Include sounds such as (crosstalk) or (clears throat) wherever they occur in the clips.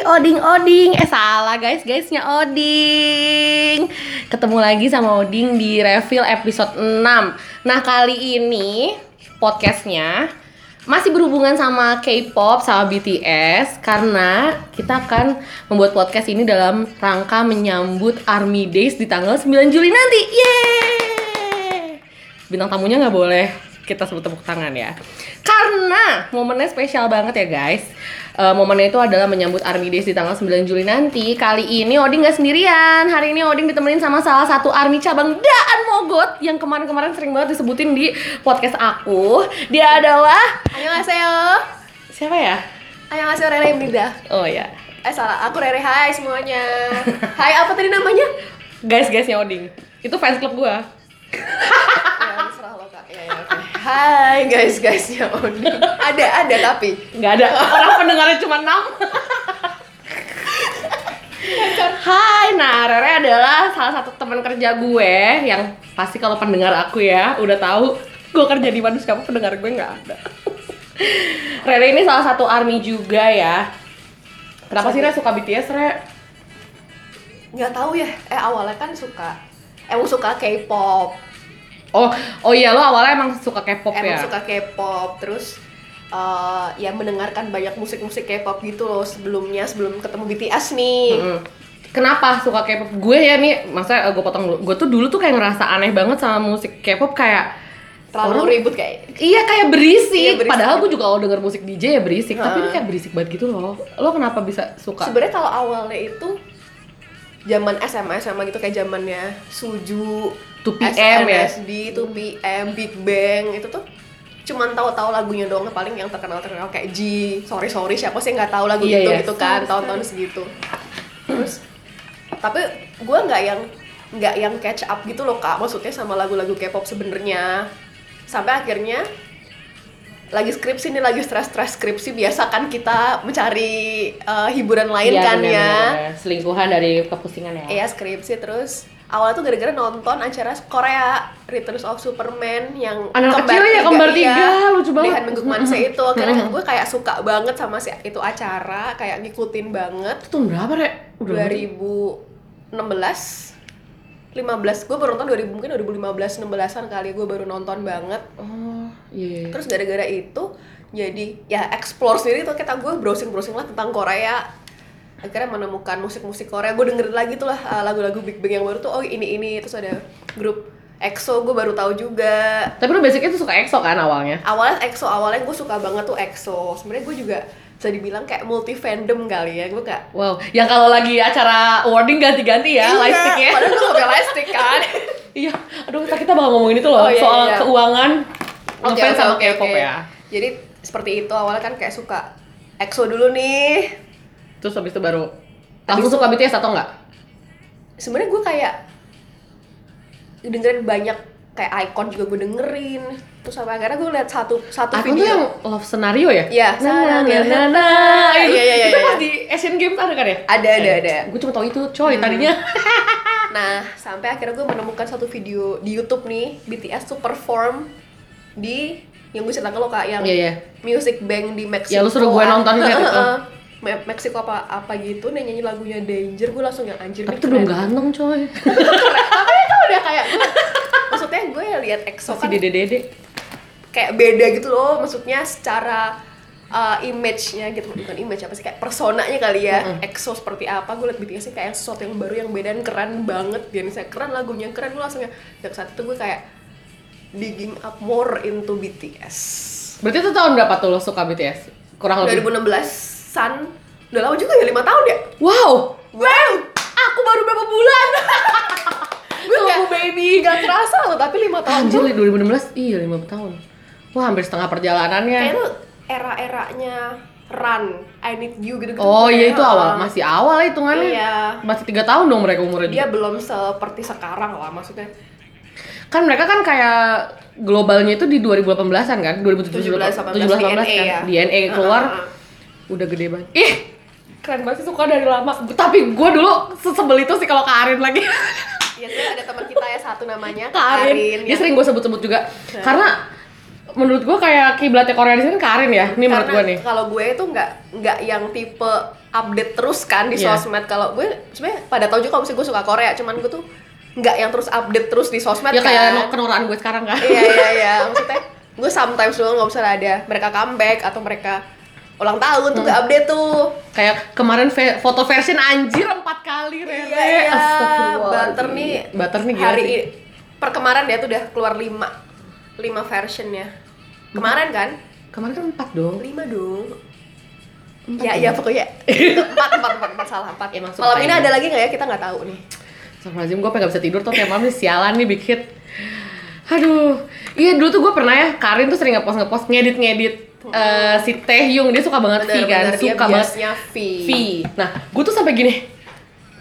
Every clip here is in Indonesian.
Oding Oding. Eh salah guys, guysnya Oding. Ketemu lagi sama Oding di refill episode 6. Nah, kali ini podcastnya masih berhubungan sama K-pop sama BTS karena kita akan membuat podcast ini dalam rangka menyambut Army Days di tanggal 9 Juli nanti. Yeay! bintang tamunya nggak boleh kita sebut tepuk tangan ya karena momennya spesial banget ya guys Eh, momennya itu adalah menyambut Army Days di tanggal 9 Juli nanti kali ini Odin nggak sendirian hari ini Odin ditemenin sama salah satu Army cabang Daan Mogot yang kemarin-kemarin sering banget disebutin di podcast aku dia adalah Annyeonghaseyo siapa ya Annyeonghaseyo Rere Brida oh ya Eh salah, aku Rere Hai semuanya Hai apa tadi namanya? guys guysnya Odin itu fans club gua ya, serah lo kak ya, ya, oke. Hai guys guysnya Oni Ada, ada tapi nggak ada orang pendengarnya cuma 6 Hai, nah Rere adalah salah satu teman kerja gue yang pasti kalau pendengar aku ya udah tahu gue kerja di mana siapa pendengar gue nggak ada. Rere ini salah satu army juga ya. Kenapa sih Re suka BTS Re? Nggak tahu ya, eh awalnya kan suka Emang suka K-pop Oh, oh iya lo awalnya emang suka K-pop Emang ya? suka K-pop Terus eh, ya mendengarkan banyak musik-musik K-pop gitu loh sebelumnya sebelum ketemu BTS nih Mm-mm. Hmm. Kenapa suka K-pop? Gue ya nih, maksudnya eh, gue potong dulu. Gue tuh dulu tuh kayak ngerasa aneh banget sama musik K-pop kayak terlalu orang- ribut kayak Iya kayak berisik. Iya, berisik. Padahal gue juga kalau denger musik DJ ya berisik, tapi ini Heeh. kayak berisik banget gitu loh. Lo kenapa bisa suka? sebenarnya kalau awalnya itu zaman SMA SMA gitu kayak zamannya Suju 2PM ya? SNSD 2PM Big Bang itu tuh cuman tahu-tahu lagunya doang paling yang terkenal terkenal kayak G sorry sorry siapa sih yang nggak tahu lagu Iya, itu iya. gitu kan tahun-tahun segitu terus tapi gue nggak yang nggak yang catch up gitu loh kak maksudnya sama lagu-lagu K-pop sebenarnya sampai akhirnya lagi skripsi nih lagi stres-stres skripsi biasa kan kita mencari eh, hiburan lain Iya, kan ya bener-bener. Selingkuhan dari kepusingan ya. Iya skripsi terus awalnya tuh gara-gara nonton acara Korea Returns of Superman yang Anak kecil ya, kembar iya. tiga, lucu banget. Lihat Mengguk Manse itu akhirnya Mm-mm. gue kayak suka banget sama si itu acara kayak ngikutin banget Itu tahun berapa, Re? Udah lama. 2016 15 gue baru nonton 2000 mungkin 2015 16-an kali gue baru nonton banget Oh, iya. terus gara-gara itu jadi ya explore sendiri tuh kita gue browsing browsing lah tentang Korea akhirnya menemukan musik-musik Korea gue dengerin lagi tuh lah uh, lagu-lagu Big Bang yang baru tuh oh ini ini terus ada grup EXO gue baru tahu juga Tapi lo basicnya tuh suka EXO kan awalnya? awalnya EXO awalnya gue suka banget tuh EXO sebenarnya gue juga bisa dibilang kayak multi fandom kali ya gue gak Wow, yang kalau lagi acara awarding ganti-ganti ya, Iya, lightsticknya. padahal gue gak punya lightstick (laughs) kan Iya, aduh kita, kita bakal ngomongin itu loh, Oh, iya, soal iya. keuangan Oke, ngefans oke, sama oke, K-pop oke. ya jadi seperti itu awalnya kan kayak suka EXO dulu nih Terus habis itu baru Langsung suka BTS atau enggak? sebenarnya gue kayak dengerin banyak kayak ikon juga gue dengerin terus sampai akhirnya gue liat satu satu Aku tuh video yang love scenario ya? Iya, na na scenario. na na. Itu- Iya, iya, iya, Itu iya. pas di Asian Games ada kan ya? Ada, ada, ada. Hmm. Gue cuma tau itu coy (laughs) tadinya. nah sampai akhirnya gue menemukan satu video di YouTube nih BTS tuh perform di yang gue cerita ke lo kak yang Iya, iya. Music Bank di Meksiko Ya, lu suruh gue nonton Heeh, liat itu. heeh. Me- Meksiko apa apa gitu nih nyanyi lagunya Danger gue langsung yang anjir Tapi nih tuh belum keren. ganteng (laughs) coy. tapi itu udah kayak gue- (laughs) maksudnya gue liat EXO Masih kan dede-dede. kayak beda gitu loh maksudnya secara uh, image-nya gitu bukan image apa sih kayak personanya kali ya EXO seperti apa gue liat BTS sih kayak sesuatu yang baru yang beda dan keren banget dan saya keren lagunya keren gue langsung ya dari saat itu gue kayak digging up more into BTS Berarti itu tahun berapa tuh lo suka BTS? Kurang lebih. 2016-an udah lama juga ya lima tahun ya Wow. wow aku baru berapa bulan (laughs) gue Tunggu, kayak baby gak kerasa loh tapi lima tahun Anjir tuh 2016. Iya, 5 tahun. Wah, hampir setengah kayak perjalanannya. tuh era-eranya Run, I Need You gitu-gitu Oh iya Kayak, itu awal, uh, masih awal hitungannya. Iya. Masih tiga tahun dong mereka umurnya. dia belum seperti sekarang lah maksudnya kan mereka kan kayak globalnya itu di 2018-an kan 2017 18 17-18 kan DNA ya. DNA keluar Heeh, udah gede banget ih keren banget sih suka dari lama tapi gue dulu sesebel itu sih kalau Karin lagi (laughs) ya sebenarnya ada teman kita ya satu namanya Karin, Karin dia ya. Iya. sering gue sebut-sebut juga karena menurut gue kayak kiblatnya Korea di sini Karin ya ini menurut Karena gue nih kalau gue itu nggak nggak yang tipe update terus kan di Iya. sosmed kalau gue sebenarnya pada tahu juga kalau misalnya gue suka Korea cuman gue tuh nggak yang terus update terus di sosmed ya kayak kan. no- kenoraan gue sekarang kan iya iya iya maksudnya gue sometimes doang nggak usah ada mereka comeback atau mereka ulang tahun tuh gak Hmm. update tuh (laughs) kayak kemarin ve- foto version anjir empat kali Rere iya iya Astagfirullahaladzim. butter nih butter nih gila hari sih. ini per kemarin dia tuh udah keluar lima lima versionnya kemarin kan kemarin kan empat dong lima dong Empat ya dong. ya (laughs) pokoknya empat empat empat empat salah empat Ya, maksud malam ini saya. ada lagi nggak ya kita nggak tahu nih Astagfirullahaladzim, gue pengen gak bisa tidur tuh kayak malam nih sialan nih big hit Aduh, iya dulu tuh gue pernah ya, Karin tuh sering ngepost-ngepost ngedit-ngedit eh, si Taehyung, dia suka banget V kan, Benar-benar dia suka banget biasnya V V Nah, gue tuh sampai gini,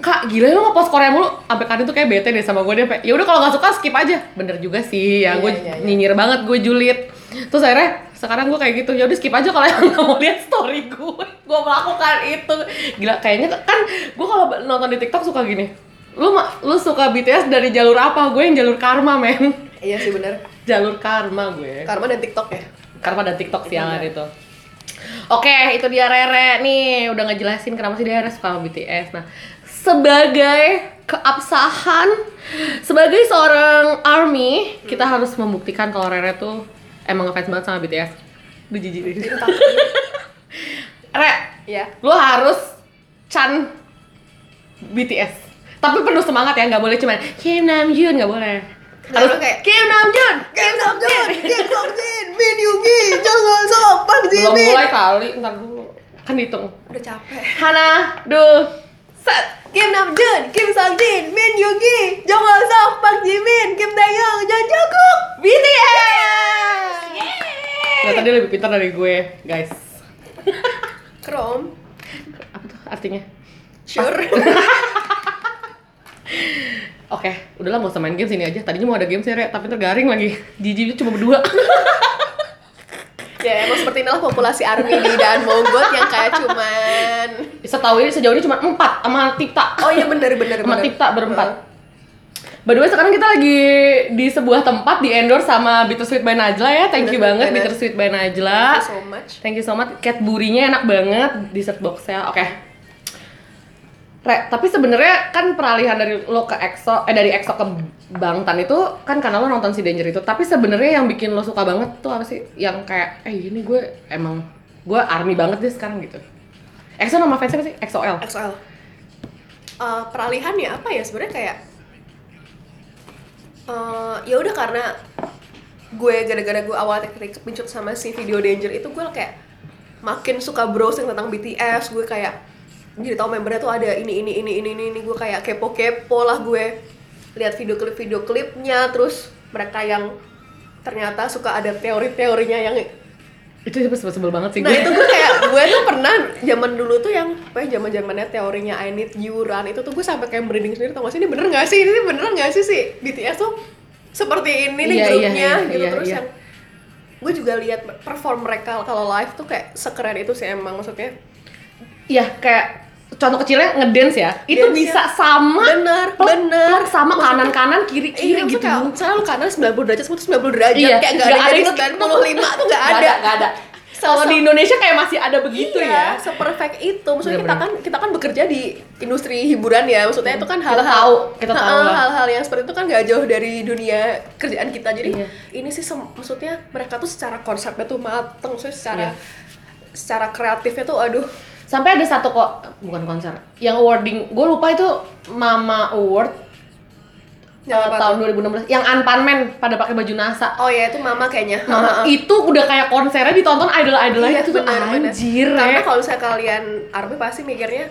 Kak, gila ya lu ngepost Korea mulu Sampai Karin tuh kayak bete deh sama gue, dia sampai, yaudah kalau gak suka skip aja Bener juga sih, ya Iya, gue iya, iya. nyinyir banget, gue julid Terus akhirnya, sekarang gue kayak gitu, yaudah skip aja kalau yang (laughs) gak mau lihat story gue Gue melakukan itu Gila, kayaknya kan gue kalau nonton di TikTok suka gini Lu, ma- lu suka BTS dari jalur apa? Gue yang jalur karma, men (laughs) iya sih bener Jalur karma gue karma dan tiktok Iya. ya Karma dan TikTok sialan itu. Oke, itu dia Rere nih udah ngejelasin kenapa sih dia Rere suka sama BTS. Nah, sebagai keabsahan sebagai seorang army, kita harus membuktikan kalau Rere tuh emang ngefans banget sama BTS. Duh jijik deh. Re, ya lu harus can BTS. Tapi penuh semangat ya, nggak boleh cuman Kim Namjoon, nggak boleh. Harus Harus kayak- Kim Namjoon. Kim Nam Jun, Kim Nam Jin, Min Yugi, jangan sopan Belum mulai kali, ntar dulu. Kan dihitung. Udah capek. Hana, duh, set. Kim Nam Jun, Kim Sang Jin, Min Yugi, jangan Sok, Park Ji Min, Kim Taeyong, Jang Jungkook, BTS. Nah, tadi lebih pintar dari gue, guys. Krom, Apa tuh artinya? sure. Oke, udahlah mau main game sini aja. Tadinya mau ada game sih, Re, tapi ntar garing lagi. (laughs) Jiji cuma berdua. (laughs) ya emang seperti inilah populasi army di dan Mogot yang kayak cuman. Setahu ini sejauh ini cuma empat sama Tipta. Oh iya bener bener. Sama bener. Tipta berempat. By the way, sekarang kita lagi di sebuah tempat di endorse sama Bittersweet by Najla ya. Thank you Bener, banget bener. Bittersweet by Najla. Thank you so much. Thank you so much. Cat burinya enak banget dessert boxnya. Oke. Re, tapi sebenarnya kan peralihan dari lo ke EXO eh dari EXO ke Bangtan itu kan karena lo nonton si Danger itu. Tapi sebenarnya yang bikin lo suka banget tuh apa sih? Yang kayak eh ini gue emang gue army banget deh sekarang gitu. EXO nama fansnya apa sih? XOL. XL. Eh, peralihan ya apa ya sebenarnya kayak eh ya udah karena gue gara-gara gue awal teknik kepincut sama si video danger itu gue kayak makin suka browsing tentang BTS gue kayak jadi tahu membernya tuh ada ini ini ini ini ini, ini. gue kayak kepo-kepo lah gue lihat video klip video klipnya terus mereka yang ternyata suka ada teori-teorinya yang Itu sebel sebel banget sih Nah gue. itu gue kayak gue tuh pernah zaman dulu tuh yang apa ya, zaman zamannya teorinya I need you run itu tuh gue sampai kayak merinding sendiri tau gak sih ini bener gak sih ini bener gak sih sih BTS tuh seperti Iya, ini nih iya, grupnya iya, gitu iya, terus iya. yang gue juga lihat perform mereka kalau live tuh kayak sekeren itu sih emang maksudnya Iya, kayak contoh kecilnya ngedance ya. Itu Dance-nya. bisa sama. Bener, bener. plek sama kanan-kanan, kiri-kiri Iya gitu. gitu kayak selalu kanan 90 derajat semua tuh 90 derajat Iya, kayak gak, nggak ada ada yang yang- 95 tuh gak ada Gak ada. Kalau di Indonesia kayak masih ada begitu iya, ya. Iya, seperfect itu. Maksudnya kita kan Bener-bener. kita kan bekerja di industri hiburan ya. Maksudnya itu kan Kita hal-hal tahu, kita tahu Heeh, lah. hal-hal yang seperti itu kan gak jauh dari dunia kerjaan kita. Jadi Iya. ini sih sem- maksudnya mereka tuh secara konsepnya tuh mateng, maksudnya secara Iya. secara kreatifnya tuh aduh Sampai ada satu kok bukan konser, yang awarding, gue lupa itu Mama Award nggak eh, apa-apa. tahun 2016 yang Anpan Man pada pakai baju NASA. Oh ya itu mama kayaknya. Mama itu udah kayak konsernya ditonton idol-idol aja Iya, itu tuh benar-benar. anjir. ya. eh. Karena Re. kalau misalnya kalian Army pasti mikirnya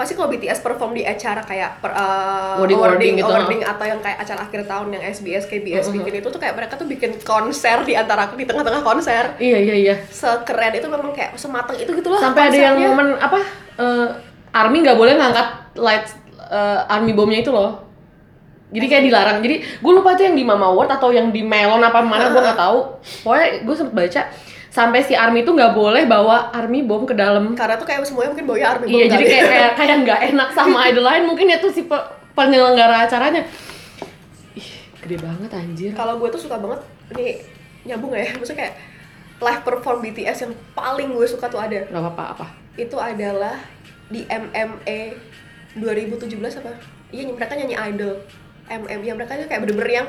pasti kalau BTS perform di acara kayak per, eh, Awarding- awarding gitu, awarding atau yang kayak acara akhir tahun yang SBS KBS bikin itu tuh kayak mereka tuh bikin konser di antara di tengah-tengah konser Iya iya iya. sekeren itu memang kayak sematang itu gitu loh sampai ada yang konsernya. momen apa eh, army nggak boleh ngangkat light eh, army bomnya itu loh jadi kayak dilarang jadi gue lupa tuh yang di Mama World atau yang di Melon apa mana gue nggak (laughs) tahu pokoknya gue sempet baca sampai si army itu nggak boleh bawa army bom ke dalam karena tuh kayak semuanya mungkin boya Army iya Bomb jadi kali. kayak (laughs) kayak kayak nggak enak sama idol lain mungkin ya tuh si pe- penyelenggara acaranya ih gede banget anjir kalau gue tuh suka banget ini nyambung nggak ya maksudnya kayak live perform BTS yang paling gue suka tuh ada Gak apa-apa apa. itu adalah di MMA 2017 apa? Iya ny- mereka nyanyi idol MM ya mereka itu kayak bener-bener yang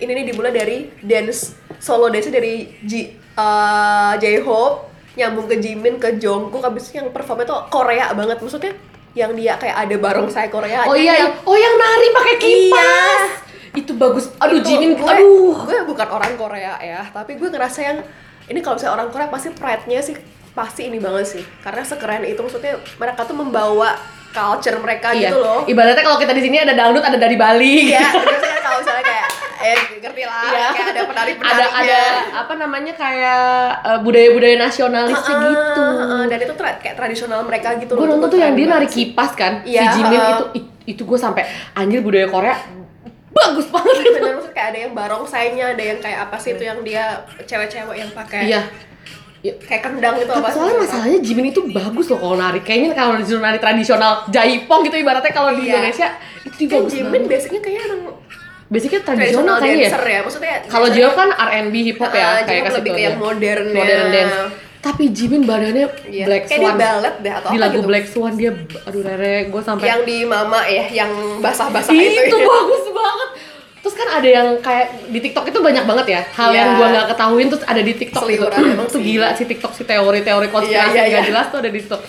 ini nih dimulai dari dance solo dance dari J eh, J-Hope nyambung ke Jimin ke Jongkook habis itu yang performnya tuh Korea banget maksudnya yang dia kayak ada barongsai Korea Oh iya, Yang- Iya. iya. oh yang nari pakai kipas. Itu bagus. Aduh, Itu Jimin, gue, aduh. gue bukan orang Korea ya tapi gue ngerasa yang ini kalau misalnya orang Korea pasti pride-nya sih pasti ini banget sih karena sekeren itu maksudnya mereka tuh membawa culture mereka Iya. gitu loh Ibaratnya kalau kita di sini ada dangdut, ada dari Bali. iya (laughs) biasanya kalau misalnya kayak eh ngerti lah kayak ada penari (laughs) Iya. ada ada apa namanya kayak eh, budaya-budaya nasionalisnya gitu. dan itu tra- kayak tradisional mereka gitu gue nonton tuh yang dia (laughs) Keren nari banget sih. kipas kan, Iya, si Jimin heeh. itu i- itu gue sampai anjir budaya Korea bagus banget. Iya, bener maksudnya kayak ada yang barongsainya ada yang kayak apa sih itu yang dia cewek-cewek yang pakai (laughs) Iya. Iya. kayak kendang gitu apa Tapi sih soalnya masalahnya Jimin itu bagus loh kalau nari. Kayaknya kalau disuruh nari tradisional Jaipong gitu ibaratnya kalau di Iya. Indonesia itu kan bagus Jimin banget. biasanya kayaknya emang Basicnya tradisional tradisional kayaknya ya. dancer ya maksudnya Kalau dancer- J-Hope kan R&B hip hop Ah, ya, kayak J-Hope ke lebih situ ke ya. yang modern modern dance. Tapi Jimin badannya Iya. Black Kayak Swan. dia balet deh atau Di apa lagu gitu. Black Swan dia aduh Rere, gue sampai yang di mama ya yang basah-basah itu, itu, ya. bagus banget terus kan ada yang kayak di TikTok itu banyak banget ya hal yang Iya. gua nggak ketahuin terus ada di TikTok Seliweran gitu emang itu sih. gila si TikTok si teori-teori konspirasi Iya, iya, nggak iya. jelas tuh ada di TikTok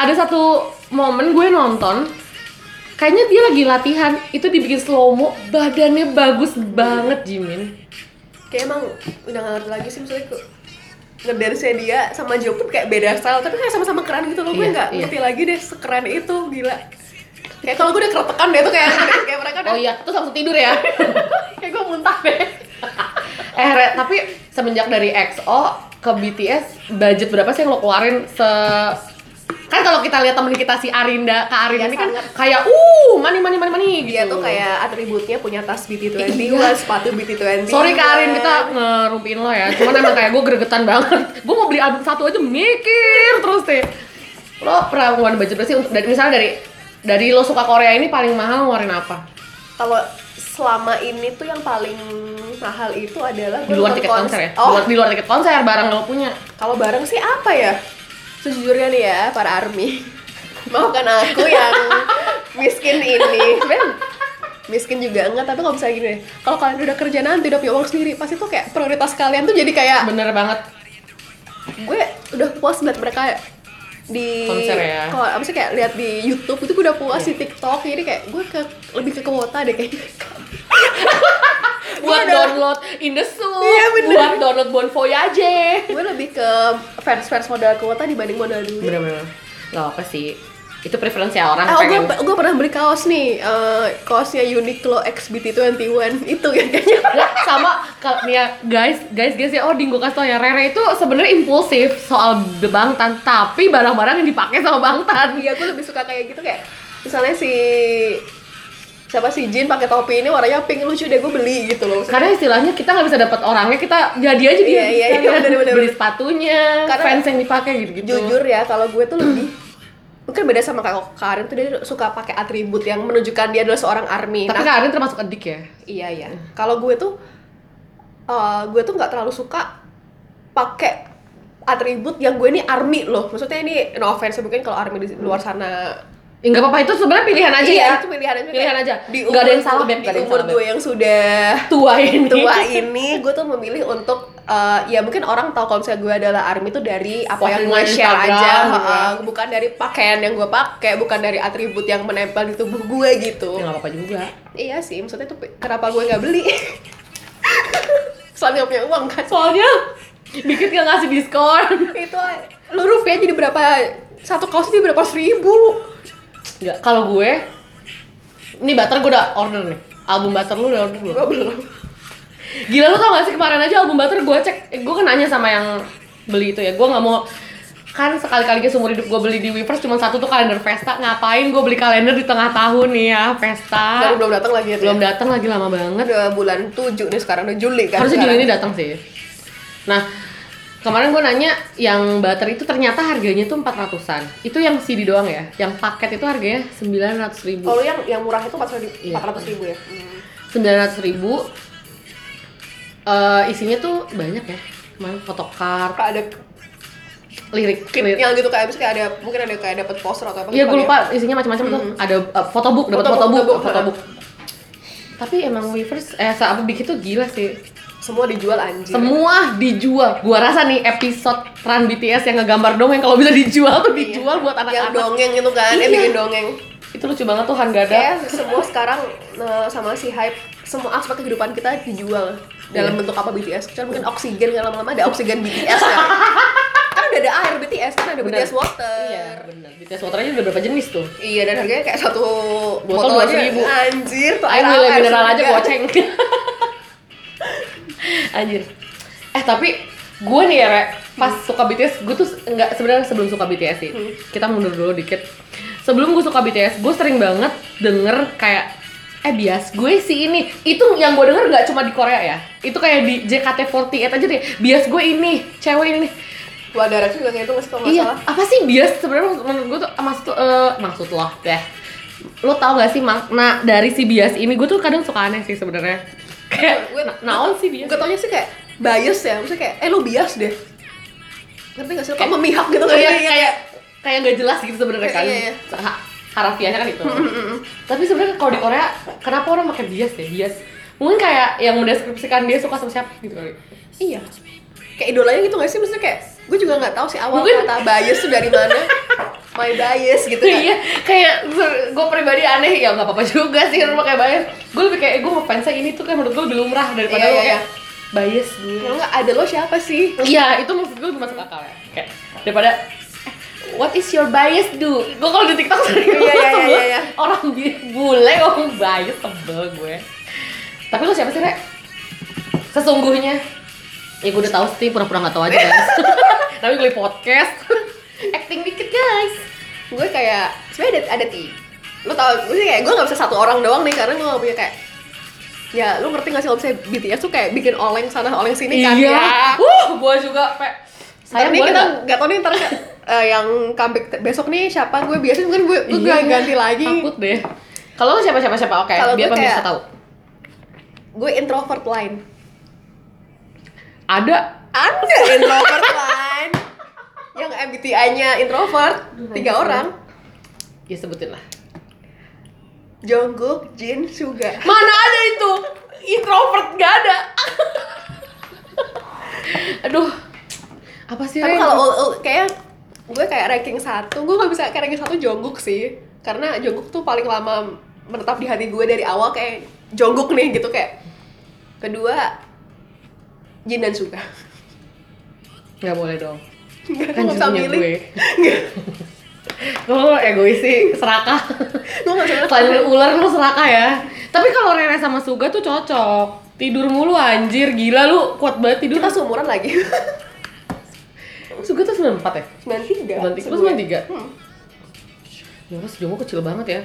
ada satu momen gue nonton kayaknya dia lagi latihan itu dibikin slow mo badannya bagus banget Jimin kayak emang udah gak ngerti lagi sih maksudnya ke ngedance dia sama Jo pun kayak beda style tapi kayak sama-sama keren gitu loh gue Iya, nggak iya. ngerti lagi deh sekeren itu gila kayak kalau gue udah keretekan deh tuh kayak kayak mereka udah oh iya terus langsung tidur ya (laughs) kayak gue muntah deh (laughs) eh Re, tapi semenjak dari EXO ke BTS budget berapa sih yang lo keluarin se kan kalau kita lihat temen kita si Arinda Kak Arinda Iya, ini kan sangat. kayak uh money money money money gitu dia tuh kayak atributnya punya tas BT20 Iya. sepatu BT20 sorry Kak Arin kita ngerumpiin lo ya cuman emang kayak gue gregetan banget gue mau beli album satu aja mikir terus deh lo pernah ngeluarin budget berapa sih untuk dari misalnya dari dari lo suka Korea ini paling mahal ngeluarin apa kalau selama ini tuh yang paling mahal itu adalah di gue luar nonton tiket konser ya di, Oh, luar, di luar tiket konser barang lo punya kalau bareng sih apa ya? Sejujurnya nih ya, para army (laughs) Maafkan aku yang miskin ini Ben, miskin juga enggak, tapi kalau misalnya gini deh Kalau kalian udah kerja nanti, udah punya uang sendiri Pasti tuh kayak prioritas kalian tuh jadi kayak bener banget Gue udah puas liat mereka di Konser ya. Iya. kalau apa sih kayak lihat di YouTube itu gue udah puas di TikTok jadi kayak gue ke lebih ke kuota deh kayaknya buat Iya, download Indesuit, Iya, bener. buat download Bon Voyage. gue lebih ke fans fans modal kuota dibanding modal duit Bener-bener. Gak apa sih. Itu preferensi orang Oh, gue pengen. gue pernah beli kaos nih, eh, kaosnya Uniqlo XBT21 (laughs) itu ya kayaknya. Lah, sama kalau nih ya guys, guys, guys ya, oh ding gue kasih tau ya Rere itu sebenarnya impulsif soal the Bangtan, tapi barang-barang yang dipakai sama Bangtan. Iya, gue lebih suka kayak gitu kayak misalnya si siapa si Jin pakai topi ini warnanya pink lucu deh gue beli gitu loh. Karena istilahnya kita nggak bisa dapat orangnya, kita jadi aja dia. Iya, iya, iya, Sekalian bener-bener. Beli sepatunya, Karena- fans yang dipakai gitu-gitu. Jujur ya, kalau gue tuh lebih mungkin beda sama Kak Karin tuh dia suka pakai atribut yang menunjukkan dia adalah seorang army. Tapi Nah, Karin termasuk edik ya. Iya ya. Kalau gue tuh, eh, gue tuh nggak terlalu suka pakai atribut yang gue ini army loh. Maksudnya ini no offense ya, mungkin kalau army di luar sana. Eh, Nggak apa-apa itu sebenarnya pilihan aja Iya, ya. itu pilihan aja. Pilihan Kayak aja. Di Nggak ada yang umur- salah, Beb. Di Nggak ada yang umur salah, Beb. gue yang sudah (laughs) Tua ini. Ya, tua iya. ini, gue tuh memilih untuk eh, ya mungkin orang tahu kalau misalnya gue adalah army tuh dari apa yang gue Postingan share Instagram, aja, gitu ya. eh, bukan dari pakaian yang gue pakai, bukan dari atribut yang menempel di tubuh gue gitu. Ya nggak apa-apa juga. Iya sih, maksudnya tuh kenapa gue nggak (laughs) beli? Soalnya nggak punya uang kan. Soalnya dikit nggak ngasih diskon. Itu ah, lu rupiah jadi berapa? Satu kaos jadi berapa seribu? Nggak, kalau gue ini butter gue udah order nih. Album butter lu udah order belum? Gue belum. Gila lu tau gak sih kemarin aja album butter gue cek, eh, gue kan nanya sama yang beli itu ya, gue nggak mau kan sekali-kali ke seumur hidup gue beli di Weavers cuma satu tuh kalender Vesta ngapain gue beli kalender di tengah tahun nih ya Baru Vesta belum datang lagi ya. belum datang lagi lama banget Udah bulan 7 nih sekarang udah Juli kan. harusnya Juli sekarang. ini datang sih nah kemarin gue nanya yang butter itu ternyata harganya tuh 400an itu yang CD doang ya yang paket itu harganya 900 ribu Kalau yang yang murah itu 400 Iya. ribu, ribu ya. Hmm. sembilan ratus ribu Eh, isinya tuh banyak ya main photocard Kayak ada lirik lirik klipnya gitu kayak misalnya ada mungkin ada kayak dapat poster atau apa Iya gitu gue kali lupa isinya macam-macam tuh. Ada uh, photobook, dapat Photobook, photobook, photobook. photobook. Tapi emang Weavers eh apa bikin tuh gila sih. Semua dijual anjir. Semua dijual. Gua rasa nih episode Run BTS yang ngegambar dongeng kalau bisa dijual tuh Iya. dijual buat Yang anak-anak. dongeng gitu kan, Iya. dia bikin dongeng. Itu lucu banget tuh Han Gada. Kayak semua sekarang eh, sama si hype semua aspek kehidupan kita dijual dalam Iya. bentuk apa BTS. Kecuali mungkin oksigen kan lama-lama ada oksigen BTS kan. kan udah ada air BTS, kan ada Bener. BTS water. Iya, benar. BTS waternya udah berapa jenis tuh? Iya dan harganya kayak satu Botol botol aja 2.000. anjir tuh Air mineral, mineral aja seharga. goceng. (laughs) Anjir. Eh tapi gue nih ya, Re, pas suka BTS, gue tuh nggak sebenarnya sebelum suka BTS sih. Kita mundur dulu dikit. Sebelum gue suka BTS, gue sering banget denger kayak eh bias gue sih ini itu yang gue denger nggak cuma di Korea ya itu kayak di JKT48 aja deh bias gue ini cewek ini Wah darah juga kayak itu masih kalau nggak Iya, salah. apa sih bias sebenarnya maksud- menurut gue tuh maksud eh, maksud lo deh. Lo tau gak sih makna dari si bias ini? Gue tuh kadang suka aneh sih sebenarnya. Kayak Gue- gue naon sih bias. Gue taunya sih kayak bias ya, maksudnya kayak eh lu bias deh. Ngerti gak sih? Kayak Kayak- Iya, memihak gitu kan? Kayak kayak kayak gak jelas gitu sebenarnya Iya, kan. iya, Mm, iya. Ha- Harafiahnya kan itu. Tapi sebenarnya kalau di Korea kenapa orang pakai bias ya? Bias. Mungkin kayak yang mendeskripsikan dia suka sama siapa gitu kali. Iya. Kayak idolanya gitu gak sih? Maksudnya kayak gue juga nggak tahu sih awal Mungkin- kata bias tuh dari mana. My bias gitu kan. iya kayak gue pribadi aneh ya nggak apa-apa juga sih rumah kayak bias gue lebih kayak eh, gue ngefansnya ini tuh kayak menurut gue lebih lumrah daripada Iya, lo iya, kayak bias gue Kalau nggak ada lo siapa sih? Iya, itu maksud gue masuk akal ya. Kayak daripada "Eh, What is your bias do? Gue kalau di TikTok sering Iya, banget iya, sebel. iya, iya. orang bi- bule ngomong bias tebel gue. Tapi lo siapa sih, Rek? Sesungguhnya Ya gue udah tahu sih, pura-pura gak tahu aja guys (laughs) Tapi gue di podcast (laughs) Acting dikit guys Gue kayak sebenarnya ada, ada tiga. Lo tau gue sih kayak gue nggak bisa satu orang doang nih karena gue nggak punya kayak Ya, lo ngerti gak sih kalau misalnya BTS tuh kayak bikin oleng sana, oleng sini kan Iya ya. Wuh, gue juga, Pe Saya Ntar nih boleh kita gak? nggak tahu nih ntar eh, yang comeback t- besok nih siapa gue biasanya mungkin gue gue Iya, ganti lagi Takut deh Kalau lo siapa-siapa-siapa, oke Kalau Biar gue pemirsa kayak- tahu gue introvert line Ada ada introvert line yang MBTI nya introvert tiga anjir. orang Ya sebutin lah Jungkook Jin Suga Mana ada itu? Introvert gak ada. (laughs) Aduh. Apa sih? tapi Ren? kalau ul- ul- kayak gue kayak ranking satu gue nggak bisa kayak ranking satu Jungkook sih karena Jungkook tuh paling lama menetap di hati gue dari awal kayak Jungkook nih gitu kayak kedua Jin dan Suga nggak boleh (laughs) dong. Nggak, Kan gue nggak bisa judulnya milih. gue. Nggak. Lo egois sih, serakah. Gue gak bisa (laughs) Selain lu ular lu serakah ya. Tapi kalau Rere sama Suga tuh cocok. Tidur mulu anjir, gila lu kuat banget tidur. Kita seumuran lagi (laughs) Suga tuh 94 ya? 93 93, sebulan. 93. Hmm. Ya Allah, si Jungkook kecil banget ya.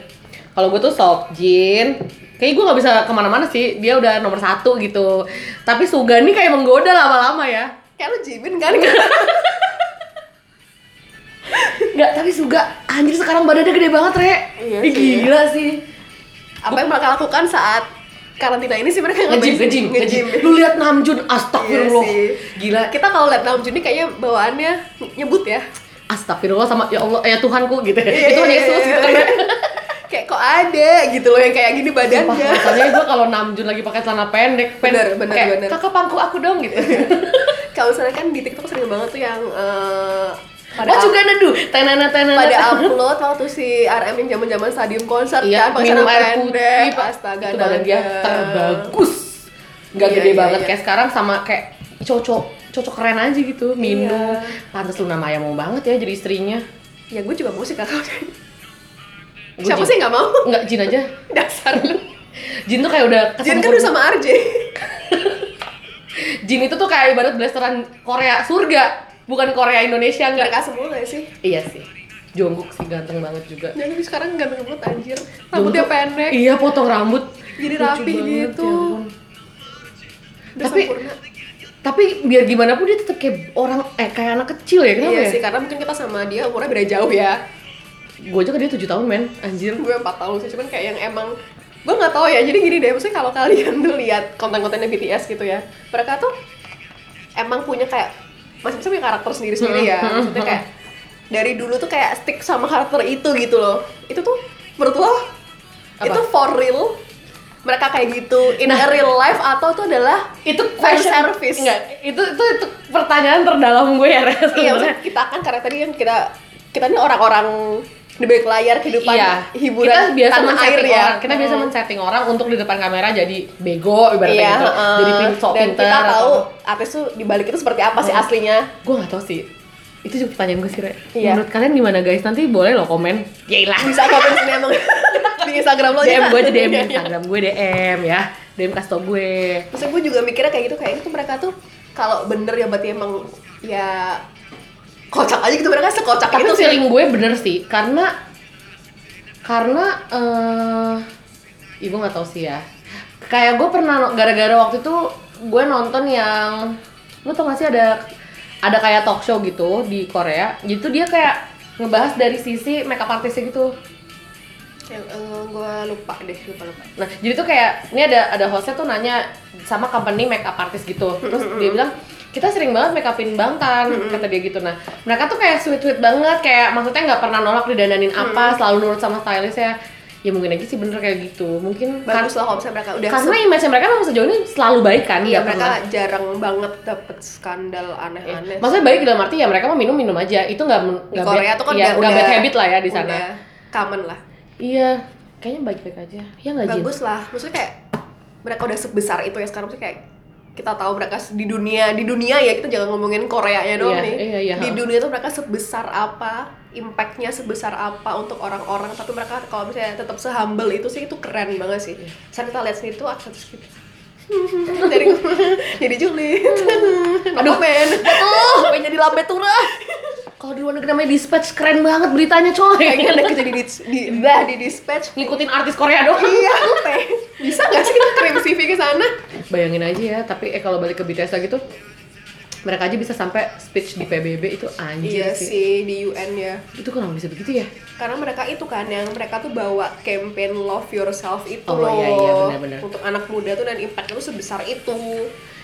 Kalau gue tuh Sokjin, kayaknya gue nggak bisa kemana-mana sih. Dia udah nomor satu gitu. Tapi Suga nih kayak menggoda lama-lama ya. (laughs) Kayak lu jibin kan? Nggak, tapi Suga anjir sekarang badannya gede banget, Re. Iya Ih, sih. Gila sih. Apa yang mereka lakukan saat karantina ini sih mereka Ngejim, ngapain sih? ngejim, Nge-gym. ngejim. Lu lihat Namjoon, astagfirullah. Iya sih. Gila. Kita kalau lihat dalam Juni kayaknya bawaannya nyebut ya. Astagfirullah sama ya Allah, ya Tuhanku gitu. ya Iya, Itu iya, Yesus iya, gitu kan. iya. (laughs) Kayak kok ada gitu loh yang kayak gini Sumpah, badannya. rasanya gue kalau Namjoon lagi pakai celana pendek, Bener, pendek bener, kayak, bener. kakak pangku aku dong gitu. Kalau misalnya kan di TikTok sering banget tuh yang eh, pada What you gonna do? Tenana, tenana, (laughs) pada tenana. upload waktu si RM yang zaman-zaman stadium konser Iya, kan pakai minum celana air pendek. putih, Pak. astaga itu badan dia naga. terbagus. Gak Iya, gede iya, banget iya. kayak sekarang sama kayak cocok cocok keren aja gitu minum Iya. pantas lu nama ayam mau banget ya jadi istrinya Ya gue juga mau sih kakak. Gua Jin. Siapa sih nggak mau? nggak Jin aja (laughs) Dasar lu. Jin tuh kayak udah Jin kan kesempur- udah sama RJ. Jin itu tuh kayak ibarat blasteran Korea surga bukan Korea Indonesia enggak Mereka semua gak sih? iya sih Jongkook sih ganteng banget juga Ya tapi sekarang ganteng banget anjir. Rambutnya Jungkook- pendek, iya potong rambut Jadi Lucu rapih banget, gitu. ya ampun. udah tapi- sempurna. tapi biar gimana pun dia tetap kayak orang eh kayak anak kecil ya kenapa Iya ya sih, karena mungkin kita sama dia umurnya beda jauh ya. gue aja ke dia 7 tahun men anjir Gue 4 tahun sih, cuman kayak yang emang gue nggak tahu ya. Jadi gini deh, maksudnya kalau kalian tuh lihat konten-kontennya BTS gitu ya, mereka tuh emang punya kayak masih punya karakter sendiri sendiri ya Hmm, hmm, maksudnya kayak dari dulu tuh kayak stick sama karakter itu gitu loh itu tuh menurut lo Apa? Nah. itu for real mereka kayak gitu in a real life atau itu adalah itu Fan question- service. enggak itu, itu itu pertanyaan terdalam gue ya Res, iya sebenarnya. maksudnya kita kan karena tadi kan kita kita ini orang-orang di balik layar kehidupan Iya. hiburan kita biasa tanah air men-setting ya orang kita biasa Mm. men-setting orang untuk di depan kamera jadi bego ibaratnya Iya, gitu heeh. jadi pin sok dan pinter kita atau tahu apa. artis tuh di balik itu seperti apa sih Mm. aslinya gue nggak tahu sih itu juga pertanyaan gue sih Re. Iya. menurut kalian gimana guys nanti boleh lo komen yailah bisa komen di sini emang (laughs) di Instagram lo DM Kak. gue aja DM (laughs) Iya, iya. Instagram gue DM ya DM kasih tau gue Maksudnya gue juga mikirnya kayak gitu, kayak itu mereka tuh kalau bener ya berarti emang ya kocak aja gitu mereka sekocak tapi itu sih. feeling gue bener sih karena karena eh ibu nggak tahu sih ya kayak gue pernah no- gara-gara waktu itu gue nonton yang lu tau gak sih ada ada kayak talk show gitu di Korea gitu dia kayak ngebahas dari sisi makeup artisnya gitu gue Ya, eh, lupa deh, lupa lupa. Nah, jadi tuh kayak ini ada ada hostnya tuh nanya sama company makeup artist gitu. Terus dia bilang kita sering banget make upin Bangtan kata dia gitu. Nah, mereka tuh kayak sweet sweet banget, kayak maksudnya nggak pernah nolak didandanin apa, selalu nurut sama stylistnya. Ya mungkin aja sih bener kayak gitu. Mungkin kar- Bagus lah kalau misalnya mereka udah karena image mereka memang sejauh ini selalu baik kan, se- nggak iya, mereka pernah. jarang banget dapet skandal Ya. aneh-aneh. Maksudnya baik dalam arti ya mereka mau minum minum aja. Itu nggak men- di nggak Korea bad- tuh kan iya, udah nggak udah bad habit lah ya di sana. udah Common lah. Iya, kayaknya baik baik aja. Ya nggak Jin? Bagus lah. Maksudnya kayak mereka udah sebesar itu ya sekarang maksudnya kayak kita tahu mereka se- di dunia di dunia ya kita jangan ngomongin Koreanya doang Iya, nih iya, iya, di ha. dunia tuh mereka sebesar apa impactnya sebesar apa untuk orang-orang tapi mereka kalau misalnya tetap sehumble itu sih itu keren banget sih Iya. saat kita lihat sendiri tuh akses gitu dari (laughs) jadi (laughs) julid aduh men pengen jadi lambe tura Kalau di luar negeri namanya dispatch keren banget beritanya coy. pengen deh kita jadi di, di, dah di dispatch ngikutin artis Korea doang. iya aku pengen bisa gak sih kita kirim CV ke sana Bayangin aja ya, tapi eh kalau balik ke BTS lagi tuh mereka aja bisa sampai speech di PBB itu anjir iya sih. sih di UN ya Itu kenapa bisa begitu ya? karena mereka itu kan yang mereka tuh bawa campaign love yourself itu Oh, loh iya, iya, benar-benar. untuk anak muda tuh dan impactnya tuh sebesar itu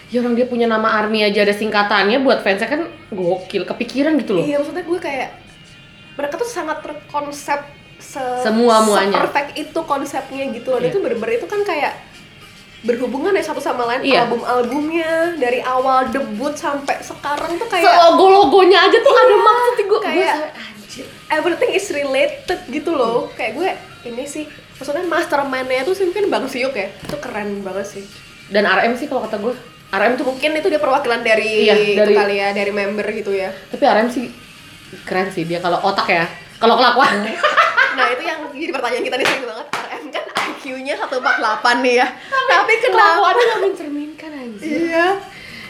Ya orang dia punya nama ARMY aja ada singkatannya buat fansnya kan gokil, kepikiran gitu loh. iya maksudnya gue kayak mereka tuh sangat terkonsep se Semua muanya. perfect itu konsepnya gitu loh dan Iya. itu bener-bener itu kan kayak berhubungan ya satu sama lain Iya. album-albumnya dari awal debut sampai sekarang tuh kayak Iya, Logo-logonya aja tuh ada maksud gue. kayak- Gue sampai, anjir. everything is related gitu loh Hmm. kayak gue ini sih maksudnya mastermind-nya tuh sih mungkin Bang Siuk ya itu keren banget sih Dan RM sih kalau kata gue, RM tuh mungkin itu dia perwakilan dari, Iya, itu dari- kali ya dari member gitu ya tapi RM sih keren sih dia kalau otak ya. Kalau kelakuan nah itu yang jadi pertanyaan kita nih sering banget RM kan IQ-nya 148 nih ya tapi kenapa kelakuannya nggak mencerminkan anjir. iya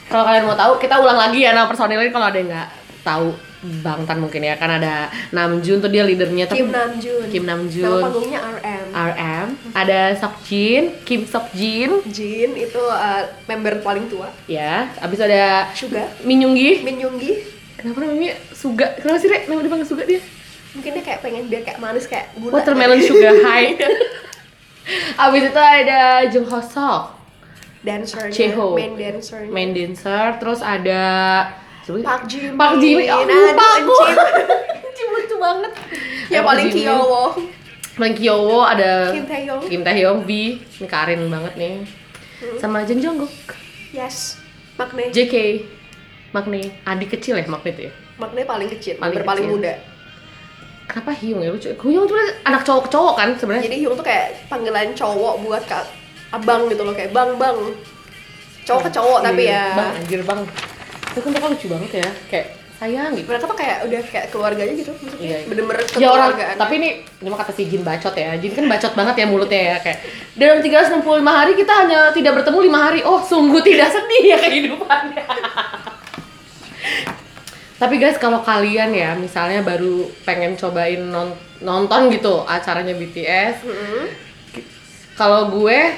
Kalau kalian mau tahu, kita ulang lagi ya nama personilnya kalau ada yang nggak tahu Bangtan mungkin ya kan ada Namjoon tuh dia leadernya tapi- Kim Namjoon Ah. Kim Namjoon. nama panggungnya RM RM ada Seokjin Kim Seokjin Jin itu uh, member paling tua ya abis ada Suga Min Yoongi Min Yoongi kenapa namanya Suga kenapa sih Rek nama dipanggil Suga dia mungkin dia kayak pengen biar kayak manis kayak gula Watermelon Suga (laughs) High abis itu ada Jung Ho Seok dancernya Cheho. main dancernya main dancer terus ada Park Jimin Park Jimin oh, Aduh, lupa aku (laughs) encim. Encim lucu banget ya Park paling Jimin. Kyowo Main Kyowo ada Kim Taeyong Kim Taeyong V ini Karin banget nih sama Jung Jungkook yes Makne JK Makne adik kecil ya Makne tuh ya Makne paling kecil Paling paling, paling kecil. muda kenapa Hyung ya lucu Hyung tuh anak cowok cowok kan sebenarnya jadi Hyung tuh kayak panggilan cowok buat kak abang gitu loh kayak bang bang cowok ke cowok tapi ya Iya. bang anjir bang itu kan mereka lucu banget ya kayak sayang gitu mereka tuh kayak udah kayak keluarganya gitu maksudnya Iya, iya. bener-bener Ya orang, kekeluargaan. tapi ini cuma kata si Jin bacot ya. Jin kan bacot banget ya mulutnya ya kayak dalam 365 hari kita hanya tidak bertemu 5 hari. Oh, sungguh tidak sedih ya kehidupannya. (laughs) tapi guys, kalau kalian ya misalnya baru pengen cobain non- nonton gitu acaranya BTS, Mm-mm. kalau gue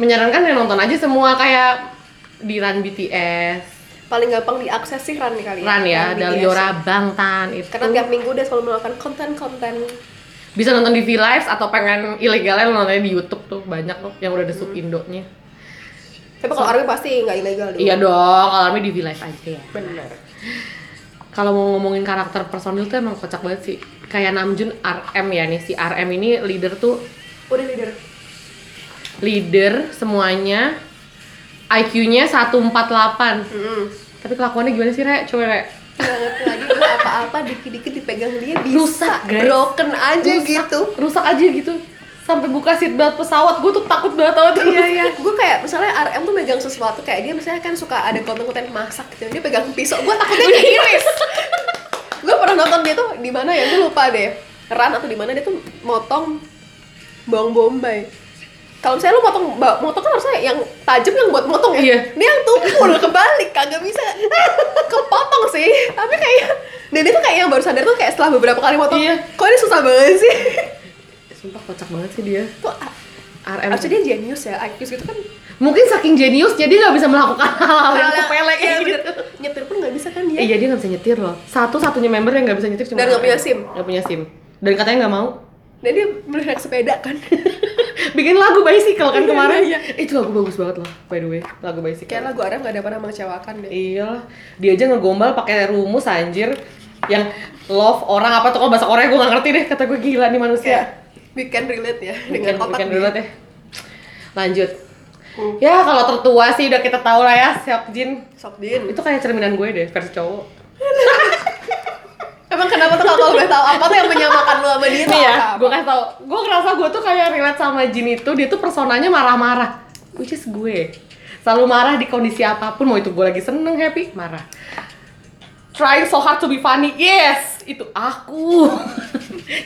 menyarankan ya nonton aja semua kayak di Run BTS, paling gampang diakses sih Ran kali Run ya, Ran dan BTS. Yora Bangtan itu. karena tiap minggu dia selalu melakukan konten-konten bisa nonton di Hmm. V Live atau pengen ilegalnya lo nontonnya di YouTube tuh banyak loh yang udah ada sub Indonya. Tapi kalau Army pasti nggak ilegal dong. Iya dong, alarmnya di V-Live aja Iya. ya. Benar. Kalau mau ngomongin karakter personil tuh emang kocak banget sih. Kayak Namjoon RM ya nih, si RM ini leader tuh Udah leader. leader semuanya. IQ-nya 148. Mm-mm. Tapi kelakuannya gimana sih, Re? Coba, Re. Nggak ngerti lagi gue apa-apa dikit-dikit dipegang dia bisa Rusak, guys. broken aja Rusak- gitu. Rusak aja gitu. Sampai buka seatbelt pesawat, gue tuh takut banget sama tuh. Iya iya. Gue kayak misalnya RM tuh megang sesuatu kayak dia misalnya kan suka ada konten-konten masak gitu. Dia pegang pisau, gue takutnya dia iris. gue pernah nonton dia tuh di mana ya? Gue lupa deh. Ran atau di mana dia tuh motong bawang bombay. Kalau misalnya lu motong ba- motong kan harusnya yang tajam yang buat motong ya. Iya. Dia yang tumpul kebalik kagak bisa kepotong sih. Tapi kayak dan dia tuh kayak yang baru sadar tuh kayak setelah beberapa kali motong. Iya. Kok ini susah banget sih? (laughs) Sumpah kocak banget sih dia. tuh RM. Harusnya dia jenius ya, IQ gitu kan Mungkin saking jeniusnya dia nggak bisa melakukan (laughs) hal-hal Oh, yang Kalau- sepele iya, kayak gitu. bener. Nyetir pun nggak bisa kan dia. Iya dia nggak bisa nyetir loh. Satu satunya member yang nggak bisa nyetir cuma Dan nggak RM. punya SIM. Nggak punya sim. Dan katanya nggak mau. (laughs) Dan dia bener naik sepeda kan. (laughs) Bikin lagu bicycle kan Iya, kemarin. iya, Itu lagu bagus banget loh. By the way, lagu bicycle. Kayak lagu Arab gak ada pernah mengecewakan deh. Iyalah, dia aja ngegombal pakai rumus anjir yang love orang apa tuh kalau bahasa Korea gue nggak ngerti deh kata gue gila nih manusia. Kayak we can relate ya Dengan dengan otak weekend dia. Hmm. dulu deh. Lanjut. Ya kalau tertua sih udah kita tahu lah ya Seokjin. Sokdin. Itu kayak cerminan gue deh versi cowok. Emang kenapa tuh kalau udah tahu apa tuh yang menyamakan lu sama dia? Nih ya, gue kasih tau Gue ngerasa gue tuh kayak relate sama Jin itu Dia tuh personanya marah-marah Which is gue Selalu marah di kondisi apapun Mau itu gue lagi seneng, happy, marah Trying so hard to be funny Yes, itu aku (laughs)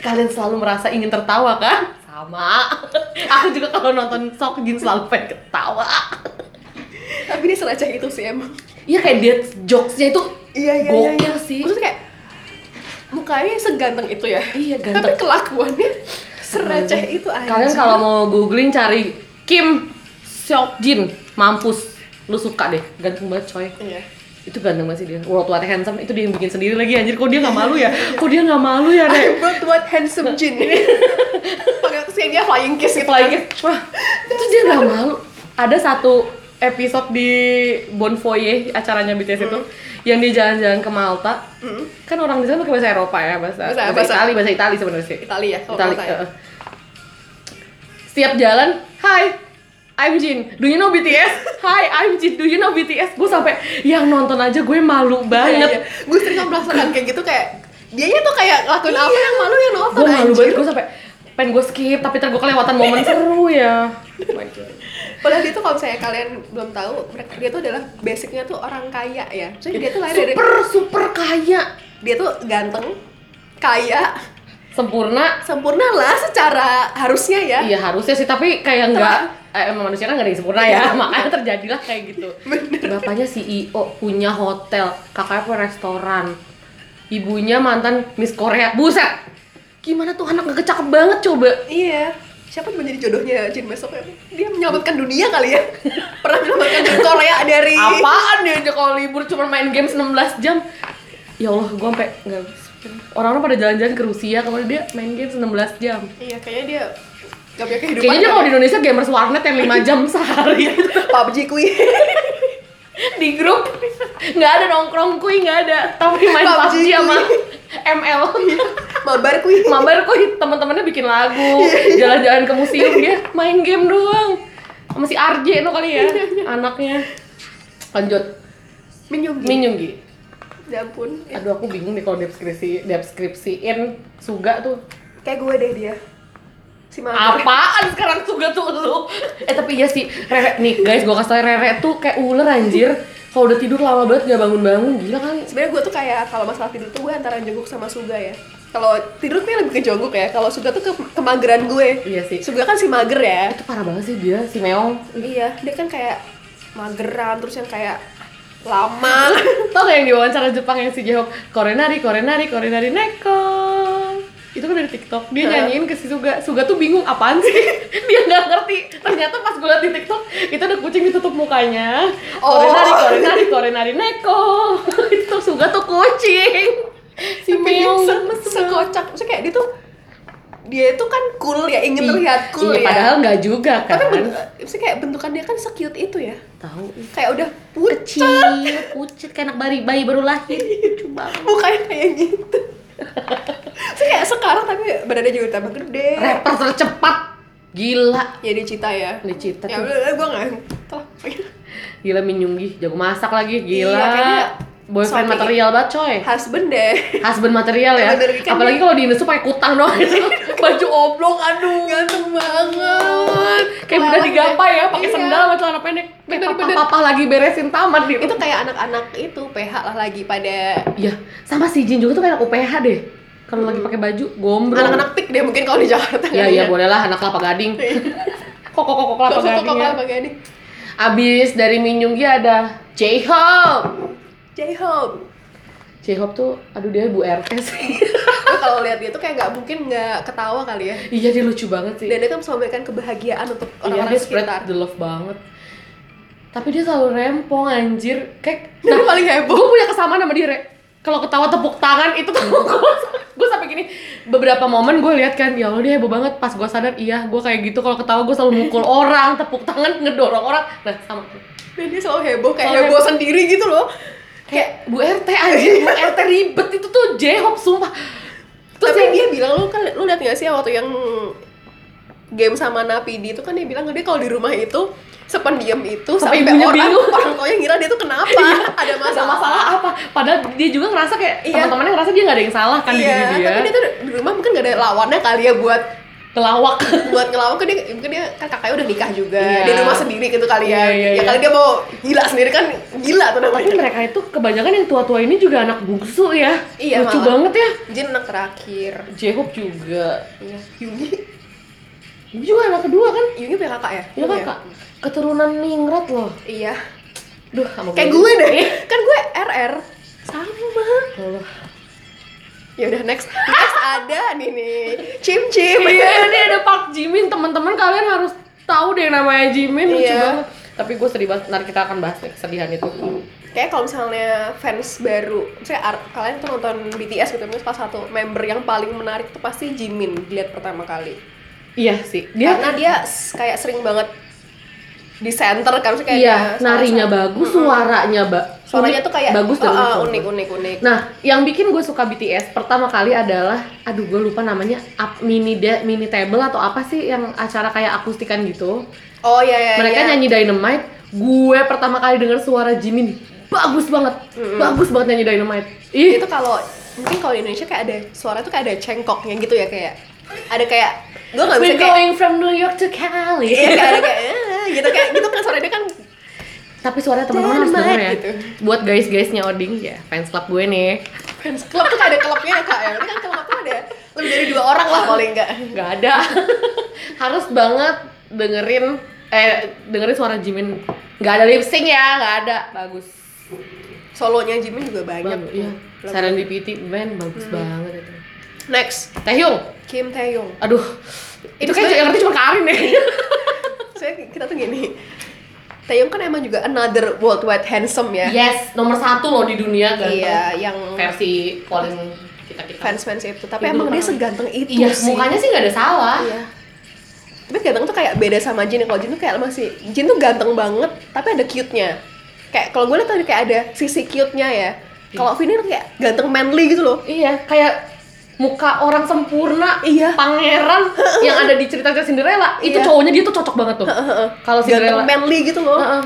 Kalian selalu merasa ingin tertawa kan? Sama (laughs) Aku juga kalau nonton Sok Jin selalu pengen ketawa Tapi dia seracah itu sih emang. Iya kayak dia jokesnya itu Iya iya iya. Gokil iya. sih. Maksudnya kayak mukanya seganteng itu ya. Iya, ganteng. Iya. Tapi kelakuannya seracah itu aja. Kalian kalau mau googling cari Kim Seokjin Mampus Lu suka deh, ganteng banget coy Iya. itu ganteng banget sih dia world wide handsome itu dia yang bikin sendiri lagi anjir kok dia nggak malu (laughs) ya kok dia nggak malu ya deh I brought what handsome (laughs) Jin. Pakai terus kayak dia flying kiss gitu. lagi wah itu dia nggak malu ada satu episode di Bonfoye acaranya BTS itu yang dia jalan-jalan ke Malta kan orang di sana pakai bahasa Eropa ya bahasa bahasa, Bahasa- bahasa- Itali bahasa Itali sebenarnya sih Italia ya, kalau Itali, nggak salah. eh. setiap jalan hi I'm Jin do you know (laughs) BTS hi I'm Jin do you know BTS gue sampai yang nonton aja gue Iya, malu banget Gue sering kan merasakan kayak gitu kayak dianya tuh kayak lakuin apa yang malu yang nonton gue Iya. malu anjir. banget gue sampai pengen gue skip tapi ntar gue kelewatan momen seru (laughs) ya Oh Padahal dia tuh kalau misalnya kalian belum tahu, mereka dia tuh adalah basicnya tuh orang kaya ya. Jadi dia tuh lahir dari super super kaya dia tuh ganteng, kaya, sempurna sempurna lah secara harusnya ya. iya harusnya sih tapi kayak nggak eh, emang manusia kan nggak ada yang sempurna ya Iya. (laughs) makanya terjadilah kayak gitu bapaknya CEO punya hotel kakaknya punya restoran ibunya mantan Miss Korea buset gimana tuh anak nggak cakep banget coba Iya. Siapa yang menjadi jodohnya Jin besok ya? Dia menyelamatkan dunia kali ya. (laughs) Pernah menyelamatkan Korea dari apaan dia aja kalau libur cuma main games 16 jam ya Allah gue sampai nggak habis pikir. orang-orang pada jalan-jalan ke Rusia kemudian dia main games 16 jam Iya, kayaknya dia gak punya kehidupan. kayaknya dia kalau di Indonesia gamers warnet yang 5 (laughs) jam sehari (laughs) PUBG kuy. di grup nggak ada nongkrong kuy nggak ada tapi main PUBG, PUBG sama kuy. ML Mabar kuy. mabar kuy teman-temannya bikin lagu jalan-jalan ke museum dia main game doang sama si RJ itu kali ya anaknya lanjut Minum. Min Yoongi. Ya ampun. Aduh aku bingung nih kalau deskripsi deskripsiin Suga tuh. Kayak gue deh dia. Si Mama. Apaan sekarang Suga tuh lu? Eh tapi iya sih, Rere nih guys, gua kasih tau Rere tuh kayak ular anjir. Kalau udah tidur lama banget gak bangun-bangun, gila kali. Sebenarnya gue tuh kayak kalau masalah tidur tuh gue antara Jungkook sama Suga ya. Kalau tidur tuh lebih ke Jungkook ya. Kalau Suga tuh ke kemageran gue. Iya sih. Suga kan si mager ya. Itu parah banget sih dia, si Meong. Iya, dia kan kayak mageran terus yang kayak (laughs) lama. Tau gak yang diwawancara Jepang yang si Jehok Korenari, Korenari, Korenari Neko itu kan dari TikTok dia Hah? nyanyiin ke si Suga Suga tuh bingung apaan sih (laughs) dia nggak ngerti ternyata pas gue liat di TikTok itu ada kucing ditutup mukanya Oh. Korenari, Korenari, Korenari Neko (laughs) itu tuh Suga tuh kucing si Tapi dia Meong se- sekocak. Maksudnya kayak dia tuh dia itu kan cool ya ingin terlihat cool Iya, ya Padahal nggak juga kan. tapi ben- maksudnya kayak bentukan dia kan secute itu ya tahu kayak udah pucat kecil, pucet kayak anak bayi, bayi baru lahir. Lucu banget. mukanya kayak gitu saya kayak sekarang tapi badannya juga tambah gede Rapper tercepat. Gila. ya dia cita ya Ini cipta ya tuh. udah gue nggak tahu Gila Minyunggi, jago masak lagi, gila. Iya, kayaknya Boyfriend something. material banget coy. husband deh Husband material ya. Bener, kan Apalagi kalau di Indonesia pakai kutang doang gitu. Baju oblong aduh. ganteng banget Kayak udah Kelawak digapai ya, pakai Iya. sendal sama celana pendek. Bener, Kayak bener. papa lagi beresin taman gitu. itu kayak anak-anak itu PH lah lagi pada Iya, sama si Jin juga tuh kayak anak UPH deh. Kalau lagi pakai baju gombrong. anak-anak pik deh mungkin kalau di Jakarta Iya. Ya ya bolehlah anak kelapa gading. kok kok kok kok kelapa Langsung kok gading. ya. kok pakai ini Abis dari Minyunggi ada J-Hope. J-Hope J-Hope tuh aduh dia Bu RT sih. (laughs) Gua kalau lihat dia tuh kayak nggak mungkin nggak ketawa kali ya iya dia lucu banget sih. dan dia tuh bisa memberikan kebahagiaan untuk Iya orang-orang dia spread sekitar the love banget. Tapi dia selalu rempong anjir. Kayak dan (laughs) dia paling heboh gue punya kesamaan sama dia Re. kalau ketawa tepuk tangan itu (laughs) tuh gue gue sampai gini beberapa momen gue lihat kan ya Allah dia heboh banget pas gue sadar iya gue kayak gitu kalau ketawa gue selalu (laughs) mukul orang tepuk tangan ngedorong orang nah sama dan dia selalu heboh kayak Selalu heboh sendiri gitu loh kayak kayak Bu RT aja Iya. Bu RT ribet itu tuh J-Hope sumpah terus tapi yang dia bilang lu kan lu lihat nggak sih waktu yang game sama Napidi itu kan dia bilang dia kalau di rumah itu sependiam itu Sampai sampai, ibunya orang bingung. orang tuanya ngira dia tuh kenapa ada Iya, ada masalah, masalah apa padahal dia juga ngerasa kayak Iya. teman-temannya ngerasa dia nggak ada yang salah kan iya di diri tapi dia dia tuh di rumah mungkin nggak ada lawannya kali ya buat kelawak buat ngelawak kan dia mungkin dia kan kakaknya udah nikah juga Iya. dia di rumah sendiri gitu kali ya Iya, iya, ya iya. kali dia mau gila sendiri kan gila tuh tapi namanya mereka itu kebanyakan yang tua-tua ini juga anak bungsu ya Iya, lucu malah. banget ya Jin anak terakhir J-Hope juga iya Yungi Ini juga anak kedua kan? Yungi punya kakak ya Ya kakak, keturunan ningrat loh. iya Duh, sama kayak gue deh (laughs) kan gue RR sama Ya Allah. ya udah next next ada nih nih cim cim Iya, ini ada Park Jimin. Teman-teman kalian harus tahu deh namanya Jimin lucu Iya. banget. Tapi gue sedih banget. Ntar kita akan bahas deh kesedihan itu. kayak kalau misalnya fans baru misalnya ar- kalian tuh nonton BTS gitu mungkin salah satu member yang paling menarik tuh pasti Jimin dilihat pertama kali Iya sih. Dia karena dia s- kayak sering banget di center kan maksudnya kayak iya, dia salah- narinya bagus, suaranya ba suaranya unik- tuh kayak bagus oh, dan oh, unik. unik unik unik Nah, yang bikin gue suka BTS pertama kali adalah, aduh gue lupa namanya, up, mini de, mini table atau apa sih yang acara kayak akustikan gitu. oh iya iya mereka iya. nyanyi Dynamite gue pertama kali denger suara Jimin bagus banget bagus banget nyanyi Dynamite ih itu kalau mungkin kalau di Indonesia kayak ada suara tuh kayak ada cengkoknya gitu ya kayak ada kayak gue nggak bisa we're kayak going from New York to Cali Iya kayak ada kayak "Eh," gitu kayak gitu kan suara dia kan (laughs) tapi suara teman-teman harus denger ya Dynamite gitu. buat guys-guysnya Oding ya fans club gue nih fans club tuh kayak ada klubnya ya kak ya Berarti kan klub tuh ada lebih dari dua orang lah paling enggak nggak ada (laughs) harus banget dengerin eh dengerin suara Jimin nggak ada lip sync ya nggak ada bagus solonya Jimin juga banyak bagus iya Lagu- Serendipity band bagus banget itu next Taehyung Kim Taeyong aduh itu Itu kan sebenarnya- yang ngerti cuma Karin (laughs) ya saya kita tuh gini Taeyong kan emang juga another worldwide handsome ya Yes, nomor satu loh di dunia ganteng. iya yang Versi polling kita kita. fans fans itu tapi Itu emang dia Iya, banget. seganteng itu Iya, sih mukanya sih nggak ada salah. iya tapi ganteng tuh kayak beda sama Jin kalau Jin tuh kayak masih Jin tuh ganteng banget tapi ada cute nya kayak kalau gue lihat tuh kayak ada sisi cute nya ya kalau Vini tuh kayak ganteng manly gitu loh Iya, kayak muka orang sempurna, Iya. (laughs) pangeran yang ada di cerita-cerita Cinderella. Itu Iya. cowoknya dia tuh cocok banget tuh. Kalau Cinderella. ganteng manly gitu loh Heeh.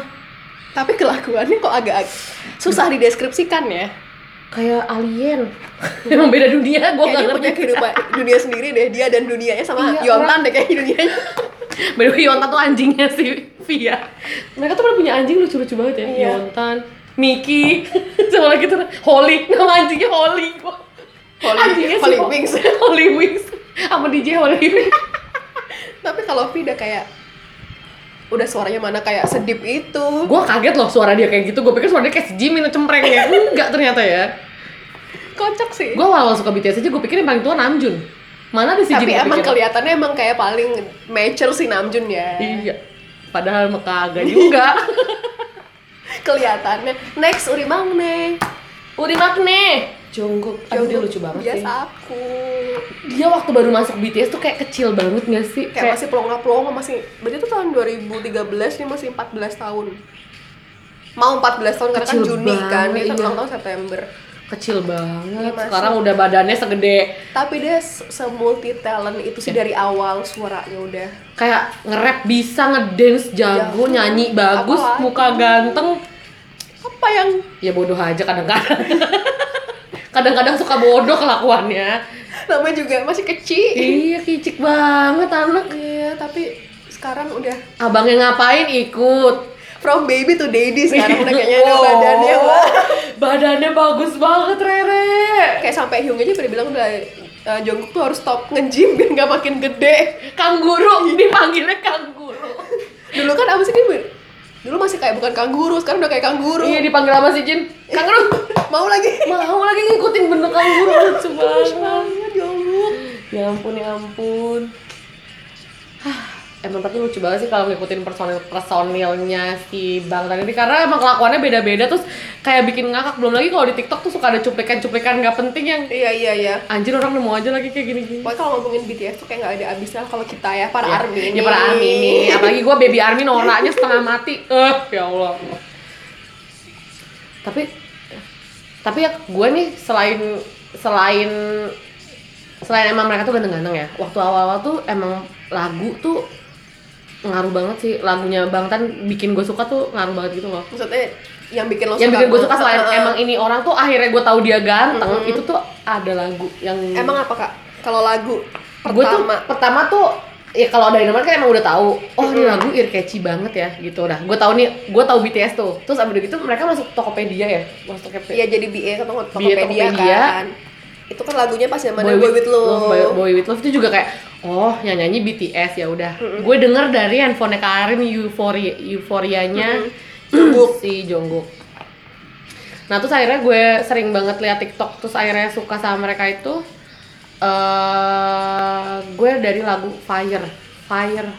tapi kelakuannya kok agak susah dideskripsikan ya Kayak alien. (laughs) Emang beda dunia, gue nggak kayak dia punya ngerti. kehidupan dunia sendiri deh dia dan dunianya sama Iya, Yontan deh kayak dunianya By the way, Yontan tuh anjingnya si Via. Mereka tuh pada punya anjing lucu-lucu banget ya. Iya. Yontan, Miki, (laughs) sama lagi tuh Holly. Nama anjingnya Holly. Gua- Holy- anjingnya si Holy Ho- (laughs) Wings. Holy Wings. Sama DJ Holy (laughs) Wings. tapi kalau Vida kayak udah suaranya mana kayak sedip itu gue kaget loh suara dia kayak gitu. Gue pikir suara dia kayak si Jimin cempreng ya. Enggak ternyata ya. kocak sih Gue awal-awal suka BTS aja gue pikir yang paling tua Namjoon. Mana ada si tapi Jimin emang kepikiran. kelihatannya emang kayak paling mature sih Namjoon ya Iya. Padahal mah kagak (laughs) juga. kelihatannya next Uri Mangne Uri Makne, Jungkook, aduh dia lucu banget bias sih. aku Dia waktu baru masuk BTS tuh kayak kecil banget gak sih? kayak masih pelongo-pelongo masih berarti itu tahun 2013 dia masih 14 tahun mau 14 tahun karena kan Kecil Juni kan dia banget, kan iya. ulang tahun September kecil banget. Iya, masih. Sekarang udah badannya segede tapi dia se- semulti talent itu Iya. sih dari awal suaranya udah kayak nge-rap bisa, ngedance jago, Jago. nyanyi bagus, Iya. Apalagi. muka ganteng. apa yang Ya bodoh aja kadang-kadang. (laughs) kadang-kadang suka bodoh kelakuannya. namanya juga masih kecil Iya, kicik banget anak. iya tapi sekarang udah Abangnya ngapain ikut. from baby to daddy sekarang udah kayaknya (laughs) ada Oh. badannya wah Badannya bagus banget, Rere. kayak sampai Hyung aja pada bilang udah eh, Jungkook tuh harus stop nge-gym biar nggak makin gede Kangguru, Iya. dipanggilnya kangguru. dulu kan apa sih dia ber- dulu masih kayak bukan kanguru sekarang udah kayak kanguru Iya, dipanggil sama si Jin. Kangguru. mau lagi Mau lagi ngikutin bener kangguru lucu banget. banget Jungkook Ya ampun, ya ampun. Hah, Emang tapi lucu banget sih kalau ngikutin personil personilnya si Bang Tan ini karena emang kelakuannya beda-beda terus kayak bikin ngakak belum lagi kalau di TikTok tuh suka ada cuplikan-cuplikan nggak penting yang iya iya iya anjir orang nemu aja lagi kayak gini-gini. pokoknya kalau ngomongin BTS tuh kayak nggak ada habisnya kalau kita ya para Ya, ARMY Ya para Army ini. Apalagi gue baby Army noraknya setengah mati. Eh, ya Allah. Tapi tapi ya gue nih selain selain selain emang mereka tuh ganteng-ganteng ya. Waktu awal-awal tuh emang lagu tuh ngaruh banget sih lagunya Bang Tan bikin gue suka tuh ngaruh banget gitu loh maksudnya yang bikin lo yang bikin gue suka banget. selain Heeh. emang ini orang tuh akhirnya gue tahu dia ganteng itu tuh ada lagu yang emang apa kak kalau lagu gue tuh pertama pertama tuh ya kalau dari nomor kan emang udah tahu oh ini lagu ear catchy banget ya gitu udah gue tahu nih gue tahu BTS tuh terus abis itu gitu mereka masuk Tokopedia ya masuk Tokopedia Iya jadi BS atau BA, Tokopedia, Tokopedia. kan. Itu kan lagunya pas zaman Boy, With Love. Boy, Boy with Love itu juga kayak oh yang nyanyi BTS ya udah gue denger dari handphone Karin euforia euforianya Jungkook. si Jungkook nah terus akhirnya gue sering banget liat TikTok terus akhirnya suka sama mereka itu eh gue dari lagu Fire Fire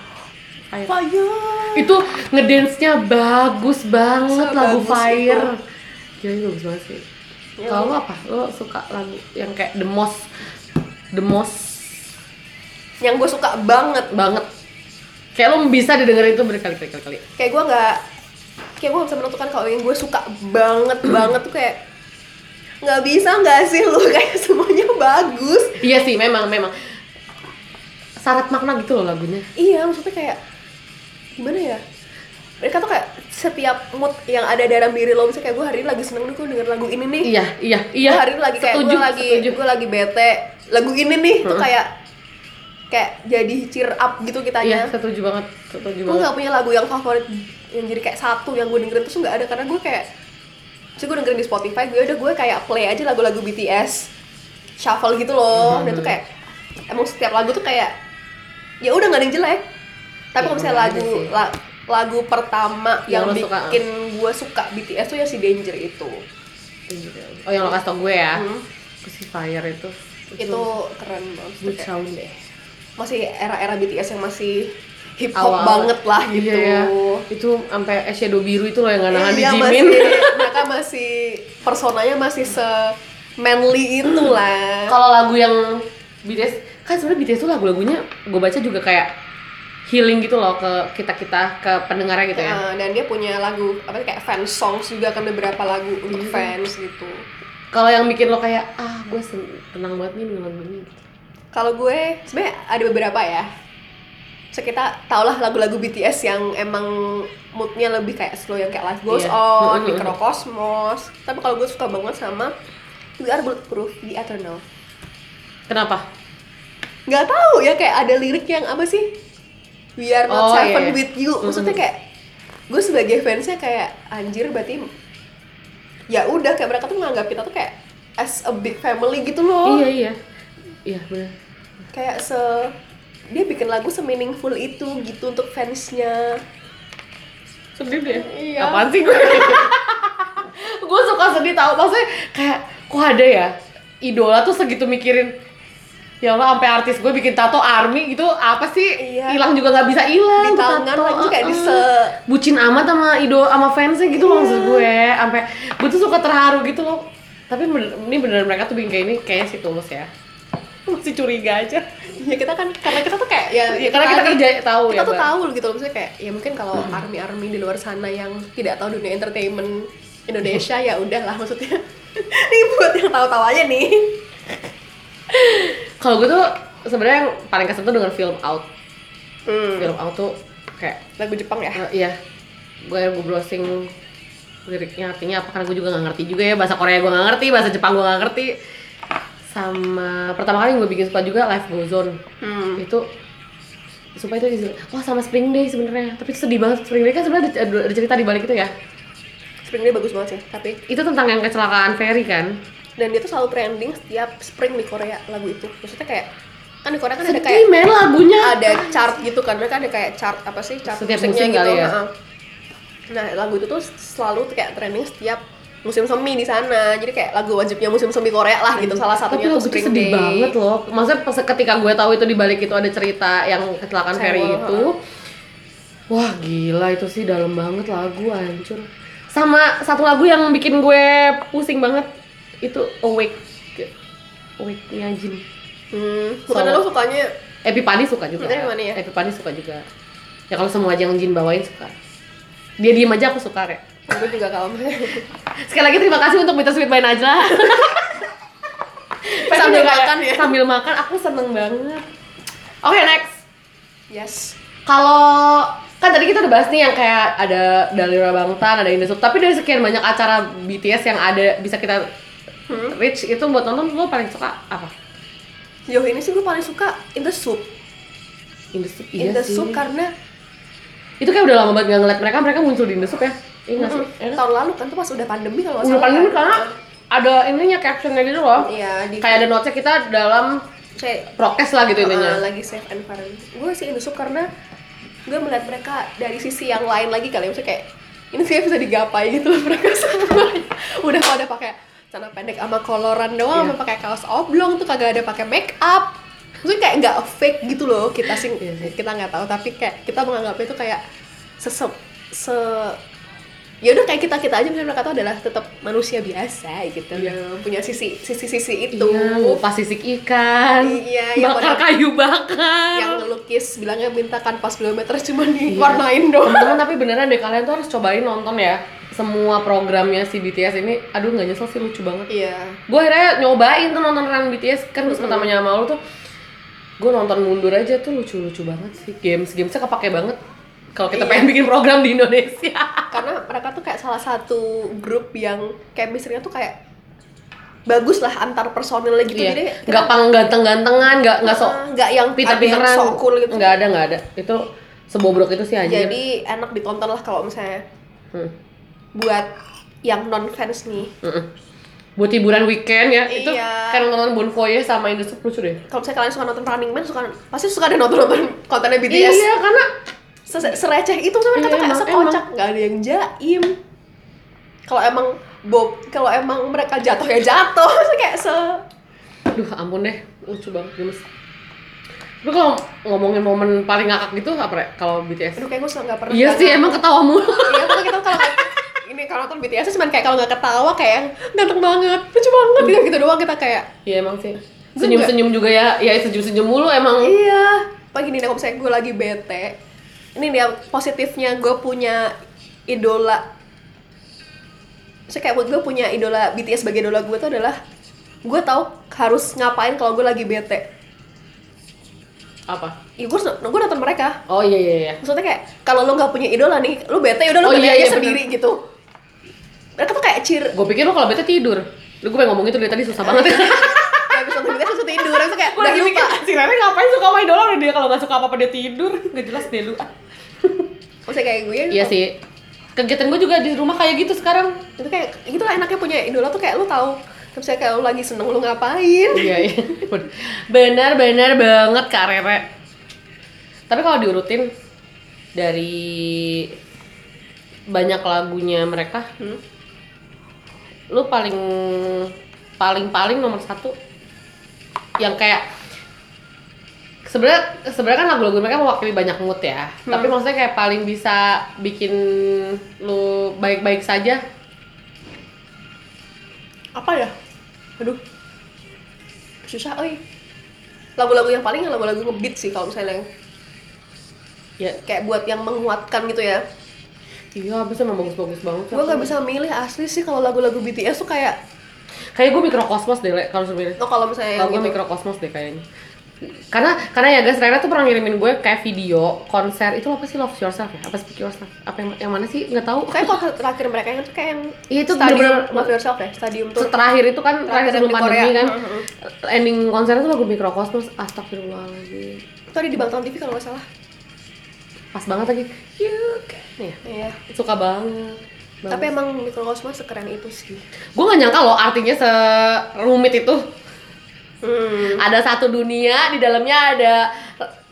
Fire Fire. itu ngedance-nya bagus banget lagu Sebagus Fire. itu. Gila ini bagus banget sih. Ya. Kalau lo apa? Lo suka lagu yang kayak the most the most Yang gue suka banget. banget. Kayak lo bisa didengerin itu berkali-kali kali. Kayak gue nggak kayak gue bisa menentukan kalau yang gue suka (clears throat) banget banget tuh kayak nggak bisa nggak sih lu (laughs) kayak semuanya bagus. Iya sih, memang memang syarat makna gitu loh lagunya. Iya, maksudnya kayak gimana ya? Mereka tuh kayak setiap mood yang ada dalam diri lo misalnya kayak gue hari ini lagi seneng nih gue denger lagu ini nih. Iya, iya, iya. Gua hari ini lagi kayak setuju, gue lagi setuju. gue lagi bete lagu ini nih tuh Mm-mm. kayak kayak jadi cheer up gitu Iya, kitanya setuju banget, setuju gue banget. nggak punya lagu yang favorit yang jadi kayak satu yang gue dengerin terus nggak ada karena gue kayak sih gue dengerin di Spotify gue udah gue kayak play aja lagu-lagu BTS shuffle gitu Mhm. loh dan tuh kayak emang setiap lagu tuh kayak ya udah nggak ada yang jelek tapi Ya, kalau misalnya nggak ada lagu sih. la- lagu pertama Yang yang, lo suka. ah. bikin gue suka BTS tuh ya si Danger itu Oh, yang lo kasih tau gue ya. Hmm. Si Fire itu. itu keren banget Tuh good kayak- sound deh. masih era-era BTS yang masih hip hop awal banget lah gitu. Iya, itu sampai eyeshadow biru itu loh yang nggak nahan Iya, dijimin masih (laughs) mereka masih personanya masih se manly itu lah. kalau lagu yang BTS kan sebenarnya BTS tuh lagu-lagunya gue baca juga kayak healing gitu loh ke kita kita ke pendengarnya gitu ya Nah, dan dia punya lagu apa kayak fans songs juga kan beberapa lagu untuk Mm-hmm. fans gitu. kalau yang bikin lo kayak ah gue sen- tenang banget nih dengan lagu ini gitu. Kalau gue sebenarnya ada beberapa ya. So kita tau lah lagu-lagu BTS yang emang moodnya lebih kayak slow yang kayak Life Goes Iya. (laughs) On, Mm-mm. Microcosmos. Tapi kalau gue suka banget sama We Are Bulletproof di Eternal. kenapa nggak tahu ya kayak ada lirik yang apa sih we are Oh, not iya. seven with you maksudnya kayak gue sebagai fansnya kayak anjir berarti ya udah kayak mereka tuh menganggap kita tuh kayak as a big family gitu loh iya iya iya benar kayak se dia bikin lagu se-meaningful itu gitu untuk fansnya sedih deh Iya. apaan sih gue (laughs) gue suka sedih tau maksudnya kayak kok ada ya idola tuh segitu mikirin ya Allah sampai artis gue bikin tato army gitu apa sih Iya. hilang juga nggak bisa hilang di tuh tangan tato, lagi tuh kayak Iya. di uh-uh. se bucin amat sama idol sama fansnya gitu loh maksud gue sampai gue tuh suka terharu gitu loh Tapi bener- ini beneran mereka tuh bikin kayak ini kayaknya sih tulus ya. (laughs) Masih curiga aja. ya kita kan karena kita tuh kayak ya, Ya, karena kita tadi- kerja tahu ya. kita tuh Mbak. Hmm. tahu gitu loh maksudnya kayak ya mungkin kalau army-army di luar sana yang tidak tahu dunia entertainment Indonesia ya udahlah maksudnya (laughs) nih buat yang tahu-tahu aja nih Kalau gue tuh sebenarnya yang paling kesel tuh dengan film out. Film out tuh kayak lagu Jepang ya Eh, iya gue gue browsing liriknya artinya apa karena gue juga nggak ngerti juga ya bahasa Korea gue nggak ngerti bahasa Jepang gue nggak ngerti sama pertama kali yang gue bikin suka juga Life Goes On Hmm. itu supaya itu disebut- wah sama Spring Day sebenarnya tapi itu sedih banget Spring Day kan sebenarnya ada, ada cerita di balik itu ya Spring Day bagus banget sih tapi itu tentang yang kecelakaan ferry kan dan dia tuh selalu trending setiap spring di Korea lagu itu maksudnya kayak kan di Korea kan ada kayak sedih men lagunya ada chart gitu kan mereka ada kayak chart apa sih chart Setiap musiknya musim gitu kali ya? heeh. nah lagu itu tuh selalu kayak trending setiap musim semi di sana jadi kayak lagu wajibnya musim semi Korea lah gitu salah tapi satunya lagu tuh itu Spring sedih Day banget loh maksudnya pas ketika gue tahu itu di balik itu ada cerita yang kecelakaan ferry Sewol, itu wah gila itu sih dalam banget lagu hancur sama satu lagu yang bikin gue pusing banget itu awake awake nya Jin hmm, bukan Solo. lo sukanya Epipani suka juga Dari mana ya? Epipani suka juga ya kalau semua aja yang Jin bawain suka dia diem aja aku suka rek gue juga kalau (laughs) sekali lagi terima kasih untuk Bittersweet by Najla (laughs) Sambil kayak- makan ya. sambil makan aku seneng banget oke next yes kalau kan tadi kita udah bahas nih yang kayak ada Dalira Bangtan, ada Indosub, tapi dari sekian banyak acara BTS yang ada bisa kita Hmm. reach itu buat nonton lo paling suka apa? jauh ini sih gue paling suka in the soup Indosub, in the soup karena iya Itu kayak udah lama banget gak ngeliat mereka, mereka muncul di Indosub ya? Iya nggak sih? mm, tahun lalu kan tuh pas udah pandemi kalau nggak Udah salah paling ini kan? karena ada ininya captionnya gitu loh iya di Kayak ada notes kita dalam kayak prokes lah gitu Uh, intinya lagi safe environment gue sih indosub karena gue melihat mereka dari sisi yang lain lagi kali ya maksudnya kayak ini sih bisa digapai gitu loh (laughs) mereka semua udah pada pakai celana pendek sama koloran doang Iya. sama pakai kaos oblong tuh kagak ada pakai make up maksudnya kayak nggak fake gitu loh kita sih Iya sih. kita nggak tahu tapi kayak kita menganggapnya itu kayak sesep se ya udah kayak kita kita aja misalnya mereka tuh adalah tetap manusia biasa gitu Iya. yang punya sisi sisi sisi itu Iya, ngupas sisik ikan, Iya, iya, bakar padahal- kayu bakar yang Iya. ngelukis bilangnya minta kanvas 2 (laughs) meter cuman diwarnain doang teman-teman tapi beneran deh kalian tuh harus cobain nonton ya semua programnya si BTS ini aduh nggak nyesel sih lucu banget (laughs) iya gue akhirnya nyobain tuh nonton run BTS kan gue pertama sama lu tuh gue nonton mundur aja tuh lucu-lucu banget sih games gamesnya kepake banget kalau kita Iya. pengen bikin program di Indonesia karena mereka tuh kayak salah satu grup yang chemistry-nya tuh kayak bagus lah antar personilnya (laughs) gitu jadi iya nggak pang ganteng-gantengan nggak nggak sok Ah, nggak yang ada pinter-pinteran yang sok cool gitu nggak ada nggak ada itu sebobrok itu sih anjir jadi enak ditonton lah kalau misalnya Hmm. buat yang non fans nih Mm-mm. buat hiburan weekend ya itu Iya. kan nonton Bon Voyage sama Indosub lucu deh kalau misalnya kalian suka nonton Running Man suka pasti suka ada nonton nonton kontennya BTS iya karena Se- sereceh itu tuh mereka Iya, tuh kayak emang- sekocak nggak ada yang jaim kalau emang Bob kalau emang mereka jatuh ya jatuh (laughs) Maksudnya kayak se Aduh ampun deh, lucu banget gemes. Tapi kalau ngomongin momen paling ngakak gitu apa Rek? kalau BTS? aduh kayak gue suka nggak pernah Iya sih emang ketawa mulu. iya karena kita kalau nggak- ini kalau nonton BTS cuman kayak kalau nggak ketawa kayak ganteng banget lucu banget gitu gitu doang kita kayak (laughs) Iya emang sih. Senyum-senyum juga ya, ya senyum-senyum mulu emang. iya pagi nih kalau misalnya gue lagi bete ini dia positifnya gue punya idola Maksudnya kayak buat gue punya idola BTS sebagai idola gue tuh adalah gue tahu harus ngapain kalau gue lagi bete Apa? ya gue gue nonton mereka Oh iya iya iya. maksudnya kayak kalau lo nggak punya idola nih lo bete ya udah lo Oh, bete iya, aja iya, sendiri gitu mereka tuh kayak cheer Gue pikir lo kalau bete tidur. Lu gue pengen ngomong itu dari tadi susah banget. kayak bisa nonton BTS langsung tidur terus kayak (laughs) Gue udah lagi lupa mikir, si Rere ngapain suka main dolar dia kalau nggak suka apa-apa dia tidur. (laughs) Gak jelas deh lu. maksudnya kayak gue Iya sih. Kegiatan gue juga di rumah kayak gitu sekarang. itu kayak gitu lah enaknya punya idola tuh kayak lo tahu terus kayak kalau lagi seneng lo ngapain Iya iya. Benar-benar banget Kak Rere. Tapi kalau diurutin dari banyak lagunya mereka, Hmm. lu paling paling paling nomor satu yang kayak sebenarnya sebenarnya kan lagu-lagu mereka mewakili banyak mood ya. Hmm. Tapi maksudnya kayak paling bisa bikin lu baik-baik saja apa ya aduh susah oi lagu-lagu yang paling lagu-lagu ngebeat sih kalau misalnya yang ya kayak buat yang menguatkan gitu ya iya abis emang bagus-bagus banget gue nggak bisa milih asli sih kalau lagu-lagu BTS tuh kayak kayak gue mikrokosmos deh Le, kalau sebenarnya oh kalau kalau misalnya yang gue gitu. mikrokosmos deh kayaknya karena karena ya guys Rena tuh pernah ngirimin gue kayak video konser itu apa sih love yourself ya apa speak yourself apa yang, yang mana sih nggak tahu kayak kalau terakhir mereka yang tuh kayak yang Iya, itu stadium bener-bener- love yourself ya stadium tour terakhir itu kan terakhir Terakhir sebelum yang di pandemi Korea. kan Heeh. ending konsernya tuh lagu mikrokosmos astagfirullahaladzim tadi di Bangtan TV kalau nggak salah pas banget lagi you can Nih, ya. iya suka banget tapi emang mikrokosmos sekeren itu sih gue gak nyangka loh artinya serumit itu hmm. ada satu dunia di dalamnya ada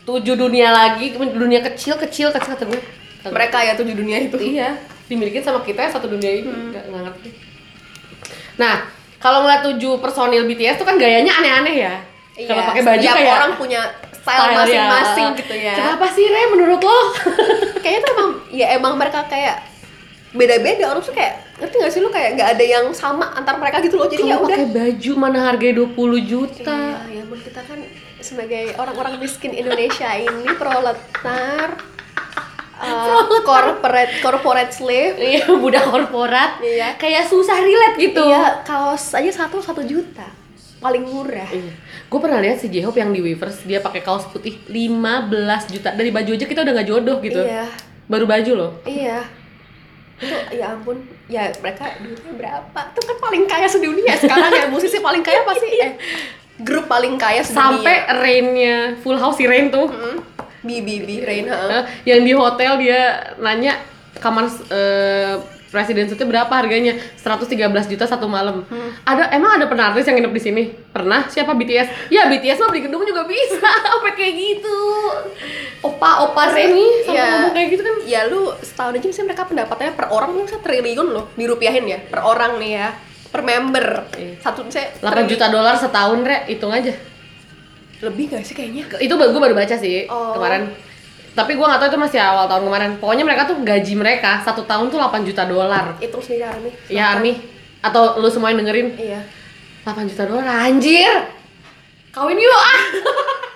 tujuh dunia lagi dunia kecil kecil kecil kata gue Kata gue. mereka ya tujuh dunia itu iya dimiliki sama kita yang satu dunia itu Hmm. nggak nggak ngerti nah kalau ngeliat tujuh personil BTS tuh kan gayanya aneh-aneh ya kalau pakai baju Iya, setiap kayak orang punya style style-nya. masing-masing gitu ya kenapa sih Re menurut lo kayaknya tuh emang ya emang mereka kayak beda-beda orang tuh kayak ngerti gak sih lu kayak nggak ada yang sama antar mereka gitu loh jadi ya Kamu udah pakai baju mana harganya 20 juta Iya, ya ampun, kita kan sebagai orang-orang miskin Indonesia ini (laughs) proletar, uh, corporate corporate slave. Iya, budak korporat Iya. kayak susah relate gitu Iya, kaos aja satu satu juta, paling murah. Iya. Gue pernah lihat si J-Hope yang di Weavers, dia pakai kaos putih 15 juta. Dari baju aja kita udah nggak jodoh gitu. Iya, Baru baju loh. iya. Itu ya ampun, ya mereka duitnya berapa? Itu kan paling kaya sedunia sekarang ya musisi paling kaya pasti eh grup paling kaya Iya. sedunia. Sampai rainnya Full House si Rain tuh. Hmm, BBB Rain ha. Eh, yang di hotel dia nanya kamar eh, presiden suite berapa harganya? 113 juta satu malam. Ada emang ada pernah artis yang nginep di sini? Pernah? Siapa BTS? Ya BTS mah beli gedung juga bisa. (laughs) Sampai kayak gitu. Opa opa Reni Reni sama ngomong kayak gitu kan ya iya. lu setahun aja misalnya mereka pendapatannya per orang tuh bisa triliun loh dirupiahin ya per orang nih ya per member Iya. satu misalnya 8 triliun. juta dolar setahun, Re. Hitung aja. lebih gak sih kayaknya itu gue baru baca sih Oh. kemarin tapi gue gak tahu itu masih awal tahun kemarin pokoknya mereka tuh gaji mereka satu tahun tuh 8 juta dolar hitung sendiri Army ya Army atau lu semua yang dengerin iya 8 juta dolar anjir kawin yuk ah (laughs)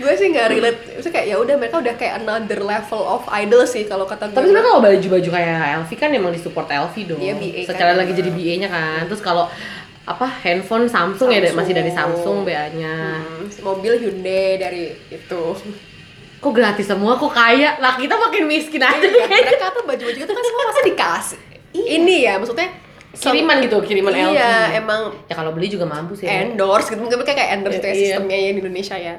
gue sih nggak relate maksudnya kayak ya udah mereka udah kayak another level of idol sih kalau kata gue tapi sebenarnya kalau baju-baju kayak LV kan emang disupport LV dong Iya, BA kan secara lagi emang. jadi BA nya kan terus kalau apa handphone Samsung, ya da- masih dari Samsung Samsung. BA nya Hmm, mobil Hyundai dari (laughs) itu kok gratis semua kok kaya lah kita makin miskin aja Iya, mereka tuh baju-baju itu kan semua pasti dikasih ini ya maksudnya (laughs) Iya. kiriman gitu kiriman LV iya emang ya kalau beli juga mampu sih Re. endorse gitu mungkin mereka kayak Iya, endorse itu ya iya. sistemnya ya di Indonesia ya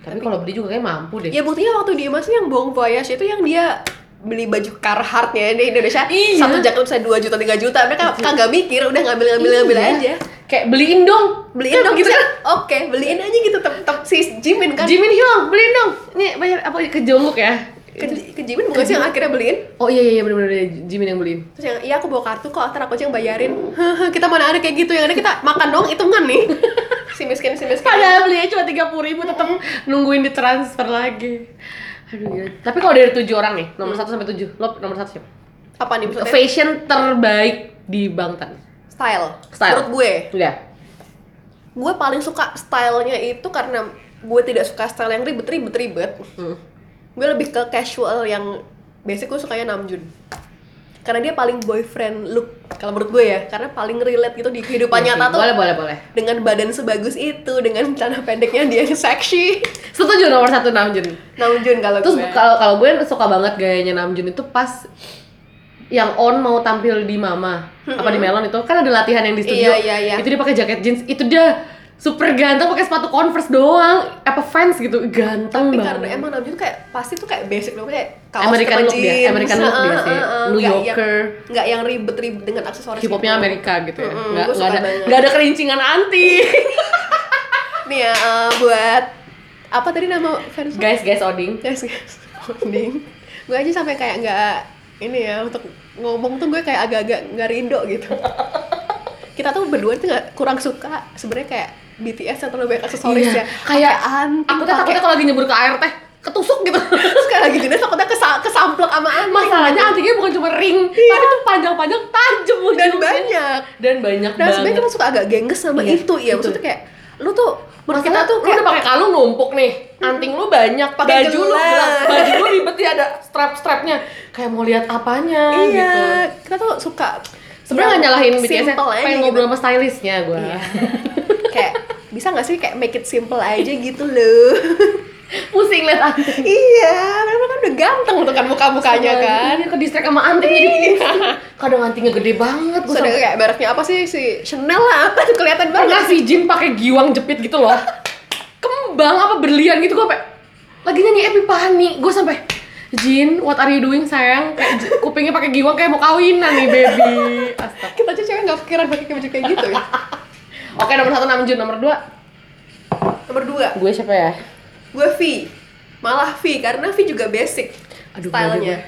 tapi kalau beli juga kayak mampu deh ya buktinya waktu dia masih yang bohong voyage itu yang dia beli baju Carhartt-nya di Indonesia Iya. satu jaket bisa 2 juta 3 juta mereka kagak mikir udah ngambil ngambil ngambil Iya. aja kayak beliin dong beliin Kan dong gitu gitu kan oke beliin aja gitu tep tep si Jimin kan Jimin Hyung beliin dong ini banyak apa ke Jungkook ya ke, ke Jimin bukan sih yang akhirnya beliin oh iya iya iya, bener bener iya. Jimin yang beliin terus yang iya aku bawa kartu kok ntar aku aja yang bayarin Haha, kita mana ada kayak gitu yang ada kita makan doang hitungan nih (laughs) si miskin si miskin padahal belinya cuma tiga puluh ribu tetap nungguin ditransfer lagi aduh gila. tapi kalau dari tujuh orang nih nomor satu sampai tujuh lo nomor satu siapa apa nih maksudnya fashion terbaik di Bangtan style. Style. menurut gue udah gue paling suka stylenya itu karena gue tidak suka style yang ribet-ribet-ribet hmm. gue lebih ke casual yang basic gue sukanya Namjoon karena dia paling boyfriend look kalau menurut gue ya karena paling relate gitu di kehidupan Iya sih. nyata tuh boleh boleh boleh dengan badan sebagus itu dengan celana pendeknya dia yang seksi setuju nomor satu Namjoon Namjoon kalau terus gue kalau kalau gue suka banget gayanya Namjoon itu pas yang on mau tampil di Mama apa di Melon itu kan ada latihan yang di studio Iya, iya, iya. itu dia pakai jaket jeans itu dia super ganteng pakai sepatu Converse doang apa fans gitu ganteng tapi karena banget emang Namjoon kayak pasti tuh kayak basic look kayak American sama look dia, jeans, American look dia ah, sih. ah, ah, New nggak Yorker. yang, nggak yang ribet-ribet dengan aksesoris hip hopnya gitu. Amerika gitu ya Mm-mm, nggak gue nggak suka ada banget. nggak ada kerincingan anti nih ya eh, buat apa tadi nama (laughs) fans guys guys Oding Guys, guys. Mending. gue aja sampai kayak nggak ini ya untuk ngomong tuh gue kayak agak-agak nggak rindu gitu. Kita tuh berdua tuh nggak kurang suka sebenarnya kayak BTS yang terlalu banyak aksesoris Iya, ya. kayak anti. aku tuh takutnya kalau lagi nyebur ke air teh ketusuk gitu sekali lagi gede takutnya kesa kesamplok sama anting (laughs) masalahnya antingnya bukan cuma ring tapi tuh panjang-panjang tajam dan ujungnya. banyak dan Iya. banyak dan sebenarnya Iya, banget kita suka agak gengges sama Iya, itu ya itu. maksudnya kayak lu tuh menurut kita tuh lu kayak- udah pakai kalung numpuk nih anting lu banyak Pakai baju lu gelang. gelap, baju lu ribet ya ada strap strapnya kayak mau lihat apanya iya gitu kita tuh suka sebenarnya nggak nyalahin BTS Simple aja pengen gitu. ngobrol sama stylistnya gue Iya. kayak bisa nggak sih kayak make it simple aja gitu (laughs) loh (laughs) pusing liat anting iya mereka kan udah ganteng tuh kan muka mukanya Sama- kan iya, ke distract sama anting jadi pusing. kadang antingnya gede banget gue Terus ada kayak mereknya apa sih si Chanel lah apa tuh kelihatan pernah banget si Jin pakai giwang jepit gitu loh kembang apa berlian gitu gue sampai lagi nyanyi Epipani gue sampai Jin what are you doing sayang kayak j- kupingnya pakai giwang kayak mau kawinan nih baby Astaga. (laughs) kita aja cewek nggak pikiran pakai kayak baju kayak gitu ya oke nomor satu Namjoon nomor dua nomor dua gue siapa ya gue V malah V karena V juga basic Aduh, stylenya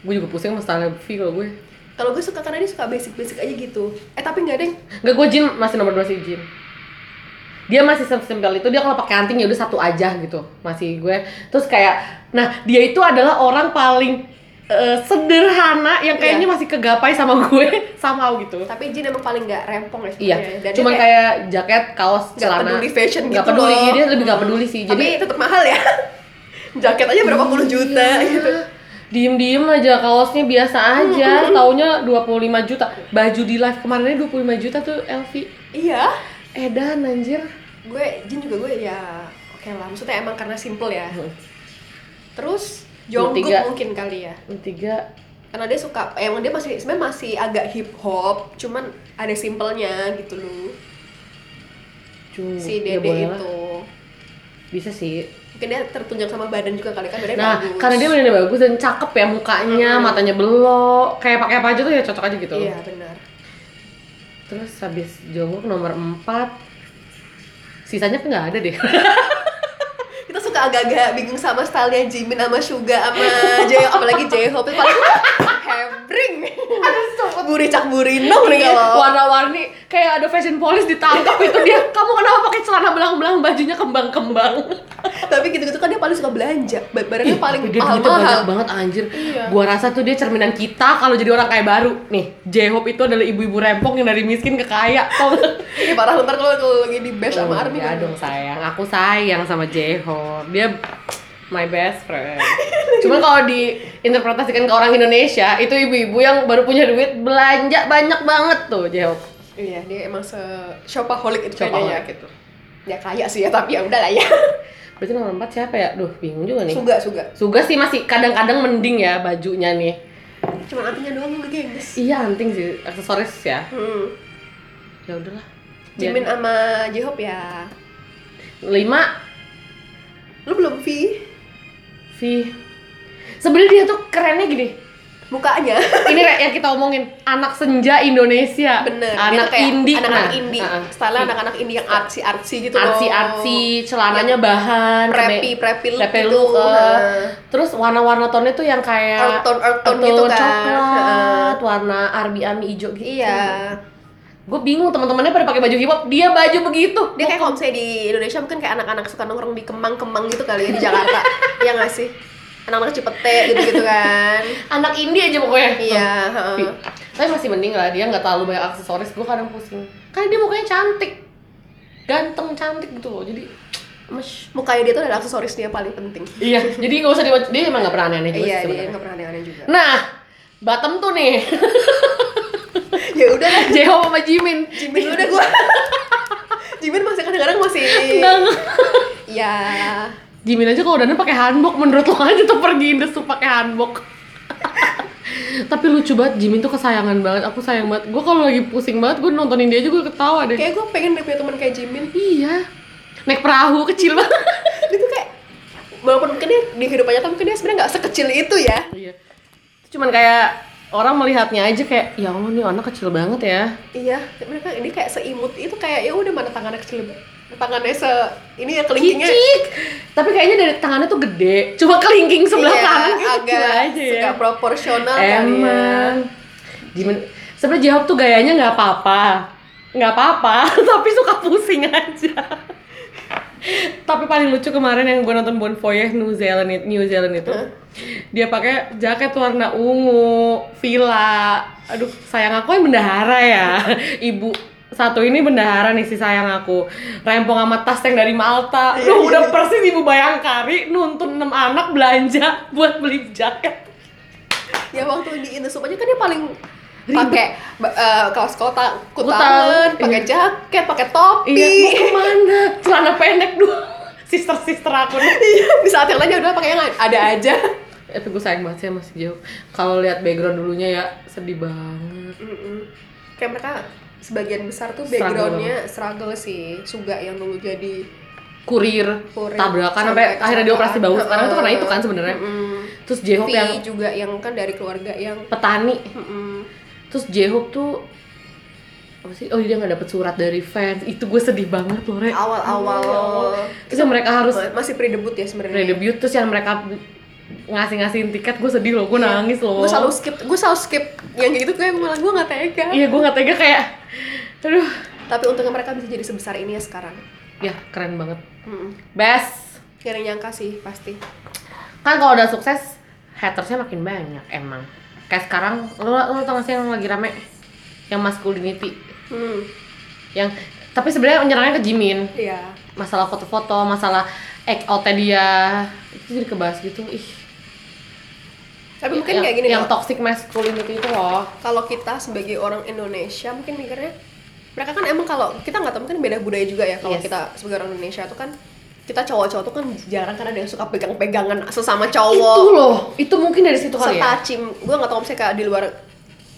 gue juga pusing sama style V kalau gue kalau gue suka karena dia suka basic basic aja gitu eh tapi nggak deng Enggak, gue Jin masih nomor dua sih Jin dia masih simpel itu dia kalau pakai anting ya udah satu aja gitu masih gue terus kayak nah dia itu adalah orang paling eh, sederhana yang Iya. kayaknya masih kegapai sama gue (laughs) sama gitu tapi Jin emang paling nggak rempong iya ya sebenarnya. Dan dia cuman kayak, jaket kaos Nggak celana peduli fashion Nggak gitu peduli iya, loh. dia lebih gak peduli sih tapi jadi tetap mahal ya (laughs) jaket aja berapa puluh juta gitu Iya. diem-diem aja kaosnya biasa (laughs) aja taunya 25 juta baju di live kemarinnya 25 juta tuh Elvi iya edan anjir gue Jin juga gue ya oke lah maksudnya emang karena simple ya Hmm. terus Nomor Jungkook tiga. mungkin kali ya tiga karena dia suka eh, emang dia masih sebenarnya masih agak hip hop cuman ada simpelnya gitu loh Cuk, si ya Dede boleh lah. itu bisa sih mungkin dia tertunjang sama badan juga kali kan badannya nah bagus karena dia badannya bagus dan cakep ya mukanya Mm-mm. matanya belok kayak pakai apa aja tuh ya cocok aja gitu iya benar terus habis Jungkook nomor 4 sisanya tuh nggak ada (laughs) deh kita suka agak-agak bingung sama stylenya Jimin sama Suga sama Jae apalagi J-Hope Itu paling (laughs) hebring buri cak burinong Iya. nih kalau warna-warni kayak ada fashion police ditangkap itu dia (laughs) kamu kenapa pakai celana belang-belang bajunya kembang-kembang tapi gitu-gitu kan dia paling suka belanja Ba- barangnya Ih, (laughs) paling tapi dia mahal duitnya mahal banyak banget anjir Iya. gua rasa tuh dia cerminan kita kalau jadi orang kaya baru nih J-Hope itu adalah ibu-ibu rempong yang dari miskin ke kaya tau nggak? ini parah ntar kalau kalau lagi di bash sama Army ya kan. dong sayang, aku sayang sama Jeho. Dia my best (laughs) friend. Cuman kalau diinterpretasikan ke orang Indonesia, itu ibu-ibu yang baru punya duit belanja banyak banget tuh Jeho. iya dia emang se shopaholic itu Coba kayaknya ya orang gitu. ya kaya sih ya tapi ya udah lah ya Berarti nomor 4 siapa ya? Duh, bingung juga nih. Suga Suga Suga sih masih kadang-kadang mending ya bajunya nih. cuma artinya doang lu gengs Iya, anting sih aksesoris ya. hmm. Ya udahlah. Biar- Jimin sama J-Hope ya lima lu belum V V. Sebenarnya dia tuh kerennya gini. mukanya (laughs) ini Rek, yang kita omongin anak senja Indonesia bener anak indie anak-anak nah, indie uh-uh. style anak-anak indie yang artsy artsy gitu loh artsy artsy celananya bahan preppy keme- preppy look preppy gitu look, uh. Nah, terus warna-warna tonnya tuh yang kayak Earth tone, earth tone gitu kan. coklat warna arbi ami hijau gitu iya gue bingung teman-temannya pada pakai baju hip hop dia baju begitu dia kayak kalau misalnya di Indonesia mungkin kayak anak-anak suka nongkrong di Kemang-Kemang gitu kali ya di (laughs) Jakarta iya nggak sih anak-anak Cipete gitu-gitu kan anak indie aja pokoknya iya Tapi- heeh. tapi masih mending lah dia nggak terlalu banyak aksesoris gue kadang pusing karena dia mukanya cantik ganteng cantik gitu loh jadi mesh mukanya dia tuh adalah aksesoris dia paling penting iya (laughs) jadi nggak usah diwac- dia emang nggak pernah aneh-aneh juga sih iya dia sebenarnya nggak pernah aneh-aneh (laughs) juga nah bottom tuh nih (laughs) ya udah lah Jeho sama Jimin Jimin udah gua (laughs) Jimin masih kadang-kadang masih Nggak- ya Jimin aja kalau dandan pakai handbok menurut lo aja tuh pergi Indus tuh pakai (laughs) handbok tapi lucu banget Jimin tuh kesayangan banget aku sayang banget gue kalau lagi pusing banget gue nontonin dia aja gue ketawa deh kayak gue pengen deh punya teman kayak Jimin iya naik perahu kecil (laughs) banget dia tuh kayak walaupun mungkin dia di kehidupannya tuh mungkin dia sebenarnya nggak sekecil itu ya Iya. Cuman kayak orang melihatnya aja kayak ya Allah nih anak kecil banget ya. iya mereka ini kayak seimut itu kayak ya udah mana tangannya kecil banget tangannya se ini ya kelingkingnya Kicik. Tapi kayaknya dari tangannya tuh gede. Cuma kelingking sebelah Iya, kanan kayak kecil agak aja ya. nggak proporsional kali ya Emang. Gimana? Sebenarnya Jihab tuh (laughs) gayanya nggak apa-apa. Nggak apa-apa, tapi suka pusing aja. Tapi paling lucu kemarin yang gue nonton Bon Voyage New Zealand it- New Zealand itu. Dia pakai jaket warna ungu, villa. Aduh, sayang aku yang bendahara ya. (laughs) Ibu satu ini bendahara nih si sayang aku rempong sama tas yang dari Malta Duh (laughs) udah persis ibu bayangkari nuntun enam anak belanja buat beli jaket ya waktu di Indosup aja kan dia paling pakai ba- eh, kaos kotak Kutangan, kutangan, pakai iya. jaket, pakai topi. iya mau kemana celana pendek dulu (laughs) sister sister aku nih Iya, (laughs) di saat yang lain ya udah pakai yang ada aja. Eh, tapi gue sayang banget sih sama si Jauh kalau lihat background dulunya ya sedih banget Kayak mereka sebagian besar tuh Struggle backgroundnya struggle sih, Suga yang dulu jadi kurir, Kurir, tabrakan sampai sampai akhirnya dia operasi bahu kecelakaan. sekarang itu karena itu kan sebenarnya terus J-Hope V yang juga yang kan dari keluarga yang petani Mm-mm. terus J-Hope tuh apa sih oh dia nggak dapet surat dari fans itu gue sedih banget loh re awal-awal terus yang mereka harus Ya masih pre-debut ya sebenarnya. redebut terus yang mereka ngasih ngasihin tiket gue sedih loh gue Iya. nangis loh Gue selalu skip, gue selalu skip yang kayak gitu gue malah gue nggak tega. iya gue nggak tega kayak aduh Tapi untungnya mereka bisa jadi sebesar ini ya sekarang. ya keren banget Hmm. Mm-mm. best Gak ada yang nyangka sih pasti. kan kalau udah sukses hatersnya makin banyak emang kayak sekarang lo lo tau gak sih yang lagi rame yang masculinity Hmm, yang tapi sebenarnya menyerangnya ke Jimin iya. masalah foto-foto masalah act out dia itu jadi kebahas gitu ih Tapi mungkin Iya, yang, kayak gini yang loh. toxic masculinity itu loh Kalau kita sebagai orang Indonesia mungkin mikirnya mereka kan emang kalau kita nggak tahu kan beda budaya juga ya kalau Yes. kita sebagai orang Indonesia tuh kan kita cowok-cowok tuh kan jarang karena ada yang suka pegang-pegangan sesama cowok. itu loh itu mungkin dari situ kali ya setacim gue nggak tahu misalnya kayak di luar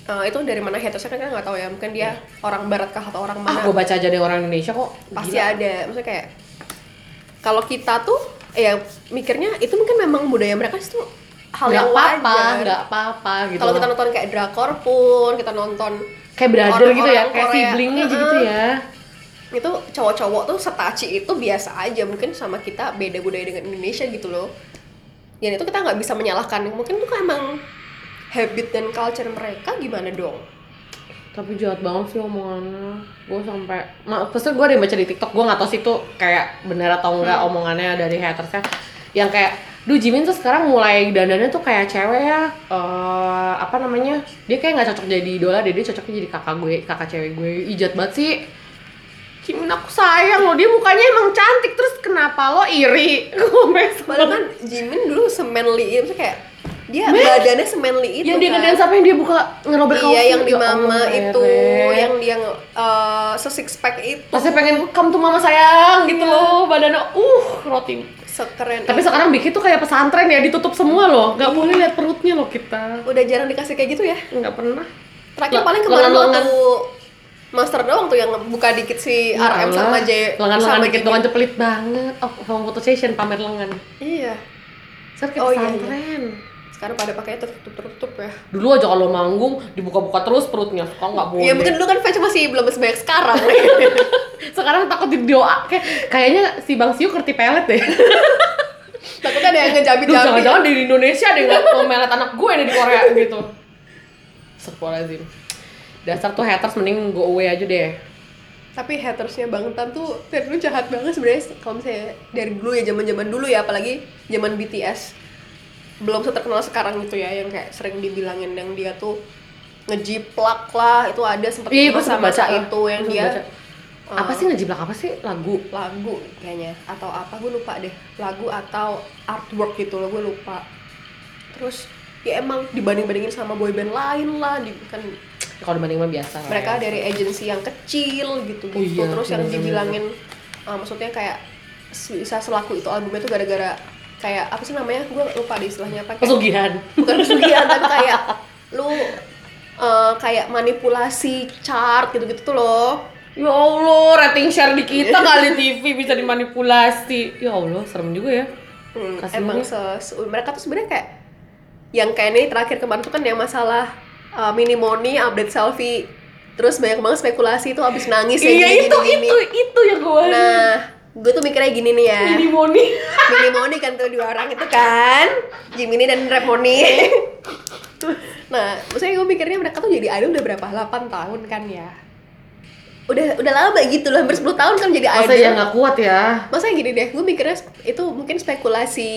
eh, itu dari mana hatersnya kan kita nggak tahu ya mungkin dia orang barat kah atau orang Iya. ah mana gue baca aja deh orang Indonesia kok pasti Gila. ada maksudnya kayak kalau kita tuh ya mikirnya itu mungkin memang budaya mereka itu hal nggak yang apa-apa wajar nggak apa-apa gitu kalau kita nonton kayak drakor pun kita nonton kayak brother gitu ya orang-orang kayak Korea, siblingnya aja heeh. gitu ya itu cowok-cowok tuh setaci itu biasa aja mungkin sama kita beda budaya dengan Indonesia gitu loh dan itu kita nggak bisa menyalahkan mungkin tuh emang habit dan culture mereka gimana dong tapi jahat banget sih omongannya gue sampai ma- maksudnya gue ada yang baca di tiktok gue nggak tahu sih itu kayak benar atau enggak Hmm. omongannya dari hatersnya yang kayak duh Jimin tuh sekarang mulai dandannya tuh kayak cewek ya eh, apa namanya dia kayak nggak cocok jadi idola deh dia cocoknya jadi kakak gue kakak cewek gue ijat banget sih Jimin aku sayang loh dia mukanya emang cantik terus kenapa lo iri (laughs) gue Padahal kan Jimin dulu semanly itu kayak dia badannya semanly itu yang dia kan. ngedance sampai yang dia buka ngerobek iya kaos yang di Ya Allah, mama itu Rere. yang dia uh, sesix pack itu Pasti pengen kamu tuh mama sayang Iya. gitu loh badannya uh roti. sekeren Tapi itu. sekarang bikin tuh kayak pesantren ya ditutup semua loh. Gak Iya. boleh lihat perutnya loh kita. udah jarang dikasih kayak gitu ya Gak pernah. terakhir Le- paling kemarin lengan-lengan. Ya waktu Master doang tuh yang buka dikit si RM sama J Lengan-lengan sama dikit kan. Jimin. doang aja pelit banget. Oh, sama foto session pamer lengan. iya Sekarang kayak Oh, iya, iya. pesantren. sekarang pada pakainya tertutup tertutup ya Dulu aja kalau manggung dibuka-buka terus perutnya. Sekarang nggak boleh. Iya mungkin dulu kan fans masih belum sebanyak (laughs) sekarang Sekarang takut di doa kayak kayaknya si Bang Siu kerti pelet deh. takutnya ada yang Duh, ngejabit-jabit jangan-jangan dari Indonesia ada yang nggak melet anak gue nih di Korea gitu. Astagfirullahaladzim. Dasar tuh haters mending go away aja deh. tapi hatersnya Bang Tan tuh dari dulu jahat banget sebenarnya kalau misalnya dari dulu ya zaman zaman dulu ya apalagi zaman BTS belum seterkenal sekarang gitu ya yang kayak sering dibilangin yang dia tuh ngejiplak lah itu ada sempet Iya, gue sempet masa-masa baca lah. itu yang Gue dia sempet eh, Apa sih ngejiblak apa sih lagu? lagu kayaknya atau apa gue lupa deh lagu atau artwork gitu loh gue lupa terus ya emang dibanding bandingin sama boyband lain lah di, kan Ya, Kalau dibanding mah biasa. lah mereka ya. dari agensi yang kecil gitu gitu Oh iya, terus yang bener-bener. dibilangin uh, maksudnya kayak se- bisa selaku itu albumnya tuh gara-gara kayak apa sih namanya gue lupa deh istilahnya apa kayak, pesugihan. bukan pesugihan tapi kayak lu uh, kayak manipulasi chart gitu-gitu tuh loh Ya Allah, rating share di (laughs) kita kali TV bisa dimanipulasi. Ya Allah, serem juga ya. Hmm, Kasihan emang ya. se- se- mereka tuh sebenarnya kayak yang kayak ini terakhir kemarin tuh kan yang masalah uh, mini money update selfie terus banyak banget spekulasi itu abis nangis ya Iya gini, itu gini, gini. itu itu yang gue. nah gue tuh mikirnya gini nih ya Ini Moni. Mini Moni kan tuh dua orang itu kan Jiminy dan Rap Moni nah maksudnya gue mikirnya mereka tuh jadi idol udah berapa 8 tahun kan ya udah udah lama gitu loh hampir 10 tahun kan jadi Masa idol ya nggak kuat ya? masa gini deh gue mikirnya sp- itu mungkin spekulasi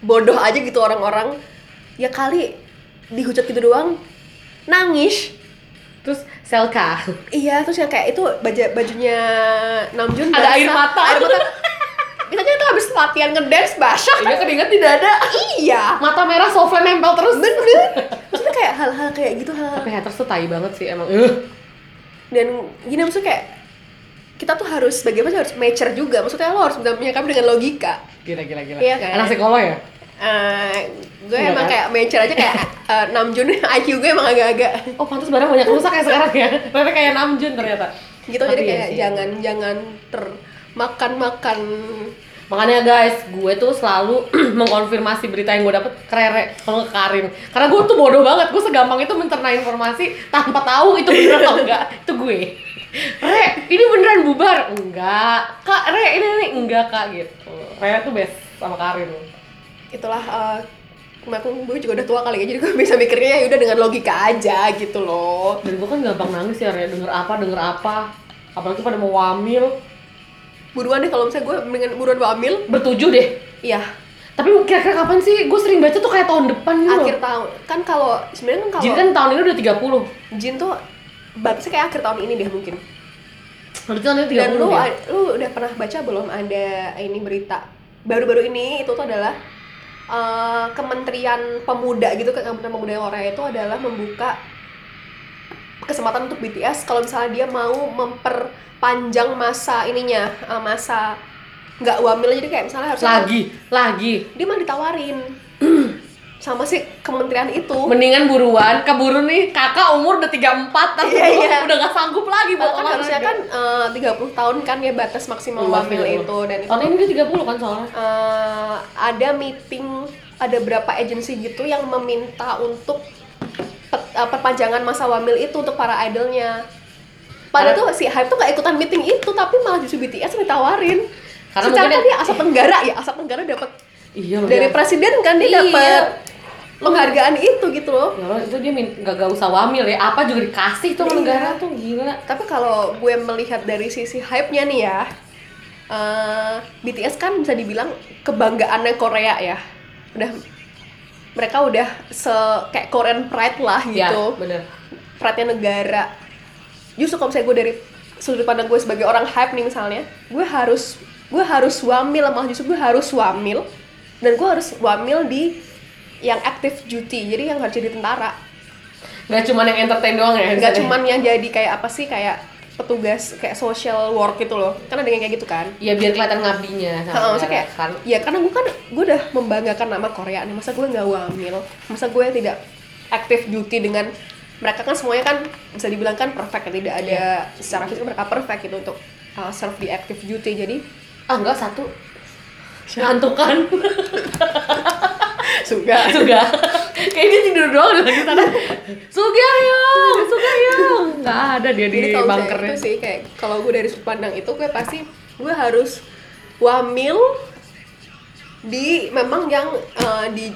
bodoh aja gitu orang-orang ya kali dihujat gitu doang nangis Terus Selka. iya terus yang kayak itu baju bajunya Namjoon Ada basah, air mata. air mata Biasanya itu habis latihan ngedance basah Iya keringat tidak ada. iya Mata merah softline nempel terus. bener maksudnya kayak hal-hal kayak gitu hal Tapi haters tuh tai banget sih emang. Eh, dan gini maksudnya kayak kita tuh harus bagaimana harus mature juga maksudnya lo harus bisa menyikapi dengan logika gila gila gila. Iya kan? Anak sekolah ya? Eh, gue Enggak emang kan? kayak mature aja kayak eh, (laughs) Namjoon IQ gue emang agak-agak Oh pantas barang banyak rusak ya sekarang ya. (laughs) Tapi kayak Namjoon ternyata. gitu Tapi jadi iya kayak sih. jangan jangan termakan makan Makanya guys, gue tuh selalu (clears throat) mengkonfirmasi berita yang gue dapet ke Rere, kalau ke Karin Karena gue tuh bodoh banget, gue segampang itu mencerna informasi tanpa tahu itu bener atau (laughs) enggak Itu gue Re, ini beneran bubar? Enggak Kak, Re, ini, ini enggak kak gitu Rere tuh best sama Karin itulah eh, maupun gue juga udah tua kali ya jadi gue (laughs) bisa mikirnya ya udah dengan logika aja gitu loh Dan gue kan gampang nangis ya Re, denger apa, denger apa Apalagi pada mau wamil buruan deh kalau misalnya gue dengan buruan wamil Bertujuh deh iya Tapi kira-kira kapan sih? Gue sering baca tuh kayak tahun depan gitu loh. akhir tahun kan kalau sebenarnya kan Jadi kalau kan tahun ini udah 30 Jin tuh batasnya kayak akhir tahun ini deh mungkin Berarti tahun ini 30 dan lu ya? lu udah pernah baca belum ada ini berita baru-baru ini itu tuh adalah eh, Kementerian Pemuda gitu kan Kementerian Pemuda Korea itu adalah membuka kesempatan untuk BTS kalau misalnya dia mau memperpanjang masa ininya eh, masa nggak wamil jadi kayak misalnya harus Lagi, lagi dia malah (clears throat) ditawarin sama si kementerian itu Mendingan buruan, keburu nih kakak umur udah 34 tapi Iya, gua iya. udah gak sanggup lagi gitu. buat Bahkan harusnya kan eh, 30 tahun kan ya batas maksimal Iya, wamil itu dan itu Tahun ini udah 30 kan soalnya eh, ada meeting ada berapa agensi gitu yang meminta untuk pe- eh, perpanjangan masa wamil itu untuk para idolnya padahal tuh si hype tuh gak ikutan meeting itu tapi malah justru BTS yang ditawarin Karena secara mungkin- kan dia asap tenggara ya asap tenggara dapat Iya loh dari ya. presiden kan dia Iya. dapat penghargaan itu gitu loh Ya Allah, itu dia min- gak, gak usah wamil ya, apa juga dikasih tuh sama Iya. negara tuh gila Tapi kalau gue melihat dari sisi hype-nya nih ya, eh, BTS kan bisa dibilang kebanggaannya Korea ya. Udah mereka udah se kayak Korean pride lah Iya, gitu. bener Pride-nya negara. Justru kalau misalnya gue dari sudut pandang gue sebagai orang hype nih misalnya, gue harus gue harus wamil malah justru gue harus wamil dan gue harus wamil di yang active duty jadi yang harus jadi tentara Gak cuman yang entertain doang ya nggak misalnya. cuman yang jadi kayak apa sih kayak petugas kayak social work gitu loh kan ada yang kayak gitu kan Ya biar kelihatan ngabdinya sama Heeh, maksudnya negara. kayak Karena ya karena gue kan gue udah membanggakan nama Korea nih masa gue nggak wamil masa gue tidak active duty dengan mereka kan semuanya kan bisa dibilang kan perfect ya tidak ada secara fisik mereka perfect gitu untuk uh, serve di active duty jadi (laughs) Ah enggak, satu Ngantukan suga Suga (laughs) Kayak dia tidur doang udah lagi sana Suga yong, Suga yong Gak ada dia di jadi kalau misalnya bunkernya itu sih kayak kalau gue dari sudut pandang itu gue pasti gue harus wamil di memang yang eh, di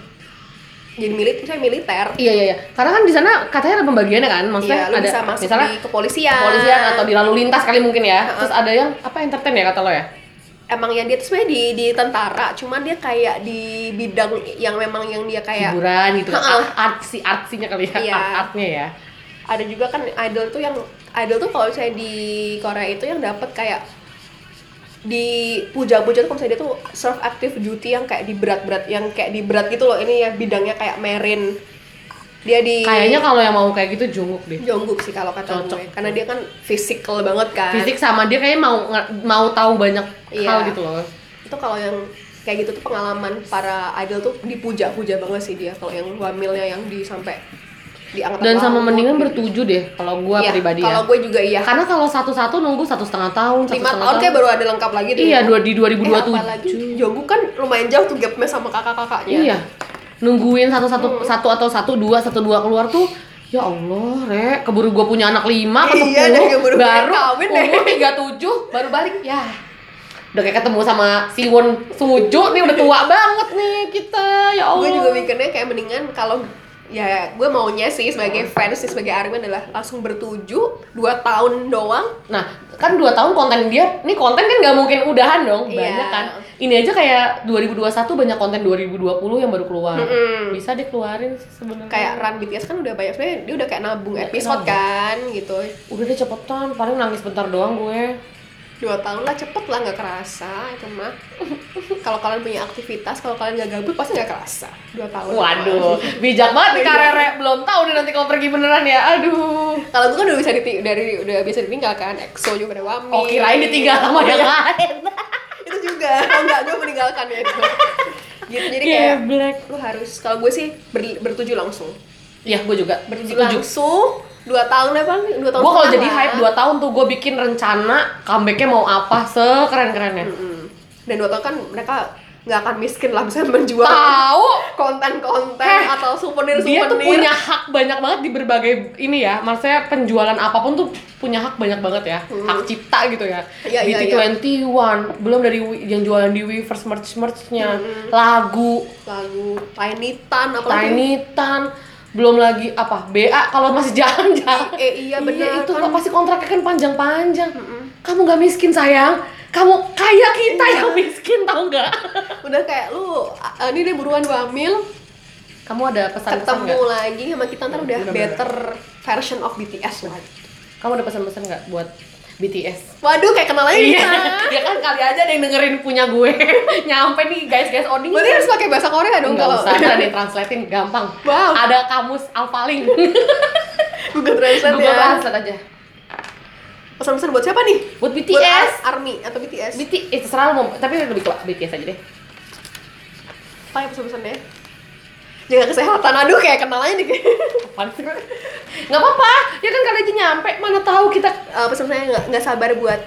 jadi militer saya militer Iya iya iya. Karena kan di sana katanya ada pembagiannya kan, maksudnya Iya, lu ada bisa masuk misalnya di Iya. kepolisian. kepolisian atau di lalu lintas kali mungkin ya. Terus ada yang apa entertain ya kata lo ya? emang yang dia tuh sebenarnya di di tentara, cuman dia kayak di bidang yang memang yang dia kayak Hiburan gitu. Iya. Heeh. Artsi artsinya kali ya, Iya. artnya ya. ada juga kan idol tuh yang idol tuh kalau misalnya di Korea itu yang dapat kayak dipuja-puja tuh kalau misalnya dia tuh serve active duty yang kayak di berat-berat yang kayak di berat gitu loh ini ya bidangnya kayak marine dia di Kayaknya kalau yang mau kayak gitu jungkuk deh. Jongkook sih kalau kata Cocok. gue karena dia kan physical banget kan Fisik sama dia kayaknya mau nge- mau tahu banyak Iya. hal gitu loh. itu kalau yang kayak gitu tuh pengalaman para idol tuh dipuja-puja banget sih dia kalau yang wamilnya yang di sampai diangkat Dan sama laut. mendingan bertujuh deh kalau gua Iya, pribadi kalau ya. gue juga iya Karena kalau satu-satu nunggu satu setengah tahun, satu lima setengah tahun kayak baru ada lengkap lagi tuh Iya, dua di eh, 2027. apalagi Jongkook kan lumayan jauh tuh gapnya sama kakak-kakaknya Iya. Nungguin satu satu Hmm. satu atau satu dua satu dua keluar tuh ya Allah re keburu gue punya anak lima ke sepuluh Iya, deh, keburu baru kawin deh. umur tiga tujuh baru balik ya udah kayak ketemu sama Siwon Suju nih udah tua banget nih kita ya Allah gue juga mikirnya kayak mendingan kalau ya gue maunya sih Oh. sebagai fans sih sebagai Armin adalah langsung bertuju dua tahun doang Nah, kan dua tahun konten dia, nih konten kan nggak mungkin udahan dong, Iya. banyak kan. Ini aja kayak 2021 banyak konten 2020 yang baru keluar. Mm-mm. Bisa dikeluarin sih sebenarnya. kayak Run BTS kan udah banyak sebenarnya dia udah kayak nabung episode Iya, nabung. kan gitu udah deh cepetan, paling nangis bentar doang gue. dua tahun lah cepet lah nggak kerasa itu (laughs) mah kalau kalian punya aktivitas kalau kalian nggak gabut pasti nggak kerasa dua tahun Waduh, bijak banget nih Karere. Belum tahu nih nanti kalau pergi beneran ya. Aduh. kalau gue kan udah bisa diti- dari udah bisa ditinggal kan EXO juga ada Wami Oh, kirain ditinggal sama yang lain. itu juga kalau nggak gue meninggalkan ya itu gitu jadi kayak Iya, black. lu harus kalau gue sih ber- bertuju langsung Ya, gue juga. bertuju Setuju. langsung dua tahun apa nih? dua tahun Gue kalau setengah jadi lah. hype 2 tahun tuh gue bikin rencana comebacknya mau apa sekeren-kerennya. Mm-mm. dan dua tahun kan mereka nggak akan miskin lah misalnya menjual Tahu konten-konten Heh, atau souvenir dia souvenir tuh punya hak banyak banget di berbagai ini ya maksudnya penjualan apapun tuh punya hak banyak banget ya hak cipta gitu ya Iya, iya, BT21 belum dari Wi- yang jualan di Weverse merch merchnya lagu lagu Tiny Tan apa Tiny Tan belum lagi apa BA kalau masih jalan jalan eh, iya, benar, itu kan. pasti kontraknya kan panjang-panjang kamu nggak miskin sayang kamu kaya kita yang miskin tau nggak udah kayak lu ah, ini deh buruan gua hamil kamu ada pesan-pesan ketemu nggak? lagi sama kita ntar udah Iya, Bener-bener. better version of BTS lah kamu ada pesan-pesan nggak buat BTS waduh kayak kenal lagi Iya, kita ya kan kali aja ada yang dengerin punya gue. (laughs) Nyampe nih guys, guys Oding. Berarti harus pakai bahasa Korea dong Enggak kalau usah, ntar ditranslatein gampang. Wow. Ada kamus alpaling. (laughs) Google Translate Google ya. translate aja. Pesan-pesan buat siapa nih? Buat Buat BTS. Ar- ARMY atau BTS? BTS eh, terserah lo mau, tapi lebih ke BTS aja deh. Apa ya pesan-pesannya? Jaga kesehatan. Aduh kayak kenal aja nih. (laughs) Eh, Apaan sih? Enggak apa-apa. Ya kan kali aja nyampe, mana tahu kita Eh, pesan-pesannya nggak nggak sabar buat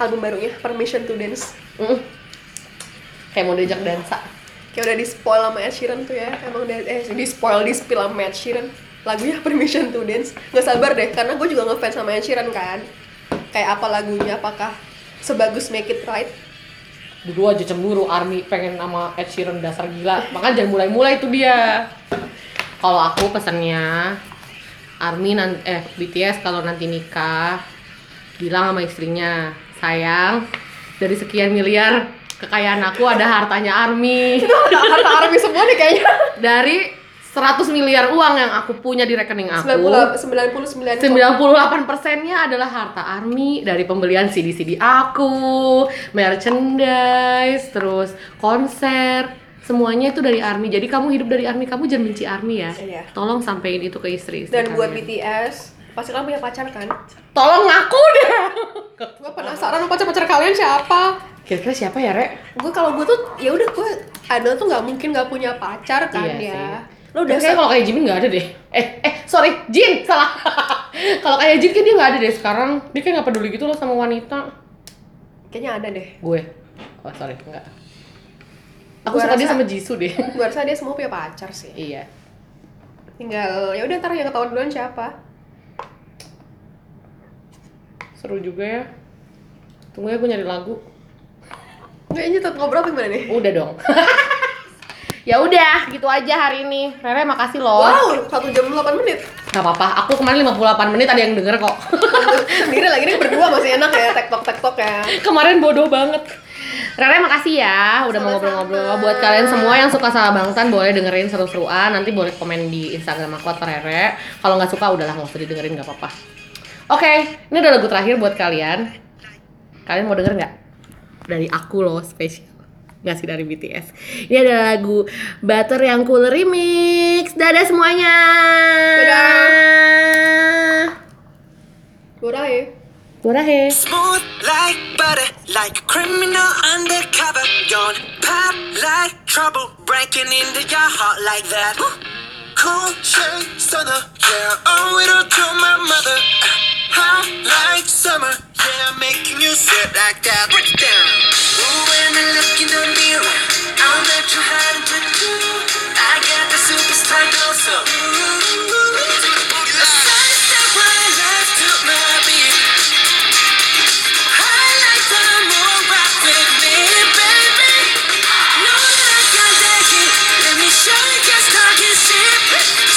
album barunya Permission to Dance. Mm. Kayak mau diajak dansa. Kayak udah di spoil sama Ed Sheeran tuh ya. Emang udah eh di spoil di spill sama Ed Sheeran. Lagunya (laughs) Permission to Dance. Nggak sabar deh karena gue juga ngefans sama Ed Sheeran kan. Kayak apa lagunya? Apakah sebagus Make It Right? (laughs) Dulu aja cemburu, Army pengen sama Ed Sheeran dasar gila. Makanya jangan mulai-mulai itu dia. Kalau aku pesannya Army nan eh BTS kalau nanti nikah bilang sama istrinya, sayang dari sekian miliar kekayaan aku ada hartanya Army. Harta ARMY semua nih kayaknya. Dari 100 miliar uang yang aku punya di rekening aku, 99 98 persennya adalah harta army dari pembelian CD-CD aku, merchandise, terus konser, semuanya itu dari army. Jadi kamu hidup dari army, kamu jangan benci army ya. Iya. Tolong sampein itu ke istri. istri Dan buat kalian. BTS, pasti kalian punya pacar kan? tolong ngaku deh. Gue penasaran pacar-pacar kalian siapa? (laughs) Kira-kira siapa ya, Rek? Gue kalau gue tuh ya udah gue ada tuh nggak mungkin nggak punya pacar kan Iya ya. sih. Lo udah Tapi kayaknya se- kalau kayak Jimin nggak ada deh. Eh, eh, sorry, Jin salah. (laughs) kalau kayak Jin kan dia nggak ada deh sekarang. Dia kayak nggak peduli gitu loh sama wanita. kayaknya ada deh. gue oh sorry enggak aku Gua suka dia rasa- sama Jisoo deh (laughs) Gue rasa dia semua punya pacar sih. iya Tinggal ya udah ntar yang ketahuan duluan siapa? seru juga ya tunggu ya gue nyari lagu Kayaknya tetap ngobrol apa gimana nih? udah dong (laughs) ya udah gitu aja hari ini Rere makasih loh Wow, satu jam 8 menit. (laughs) nggak apa-apa aku kemarin 58 menit ada yang denger kok (laughs) Sendiri lagi nih berdua masih enak ya tektok tektok ya. kemarin bodoh banget Rere makasih ya udah mau Sama-sama. ngobrol-ngobrol buat kalian semua yang suka salah bangtan boleh dengerin seru-seruan nanti boleh komen di Instagram aku atau Rere kalau nggak suka udahlah nggak usah didengerin nggak apa-apa oke ini udah lagu terakhir buat kalian kalian mau denger nggak dari aku loh spesial nggak sih dari BTS ini ada lagu Butter yang cool remix dadah semuanya dadah Gue ya. Murah ya Smooth like butter, like a criminal undercover. Don't pop like trouble, breaking into your heart like that. Cool shade stunner, yeah, owe it all to my mother. Uh, Hot like summer, yeah, making you sit like that. Break it down. Ooh, when I look in the mirror, I'll let you hide into two. I got the superstar glow, so. The sun step right next to my beat. Shit!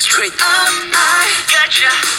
secret. I, I got ya.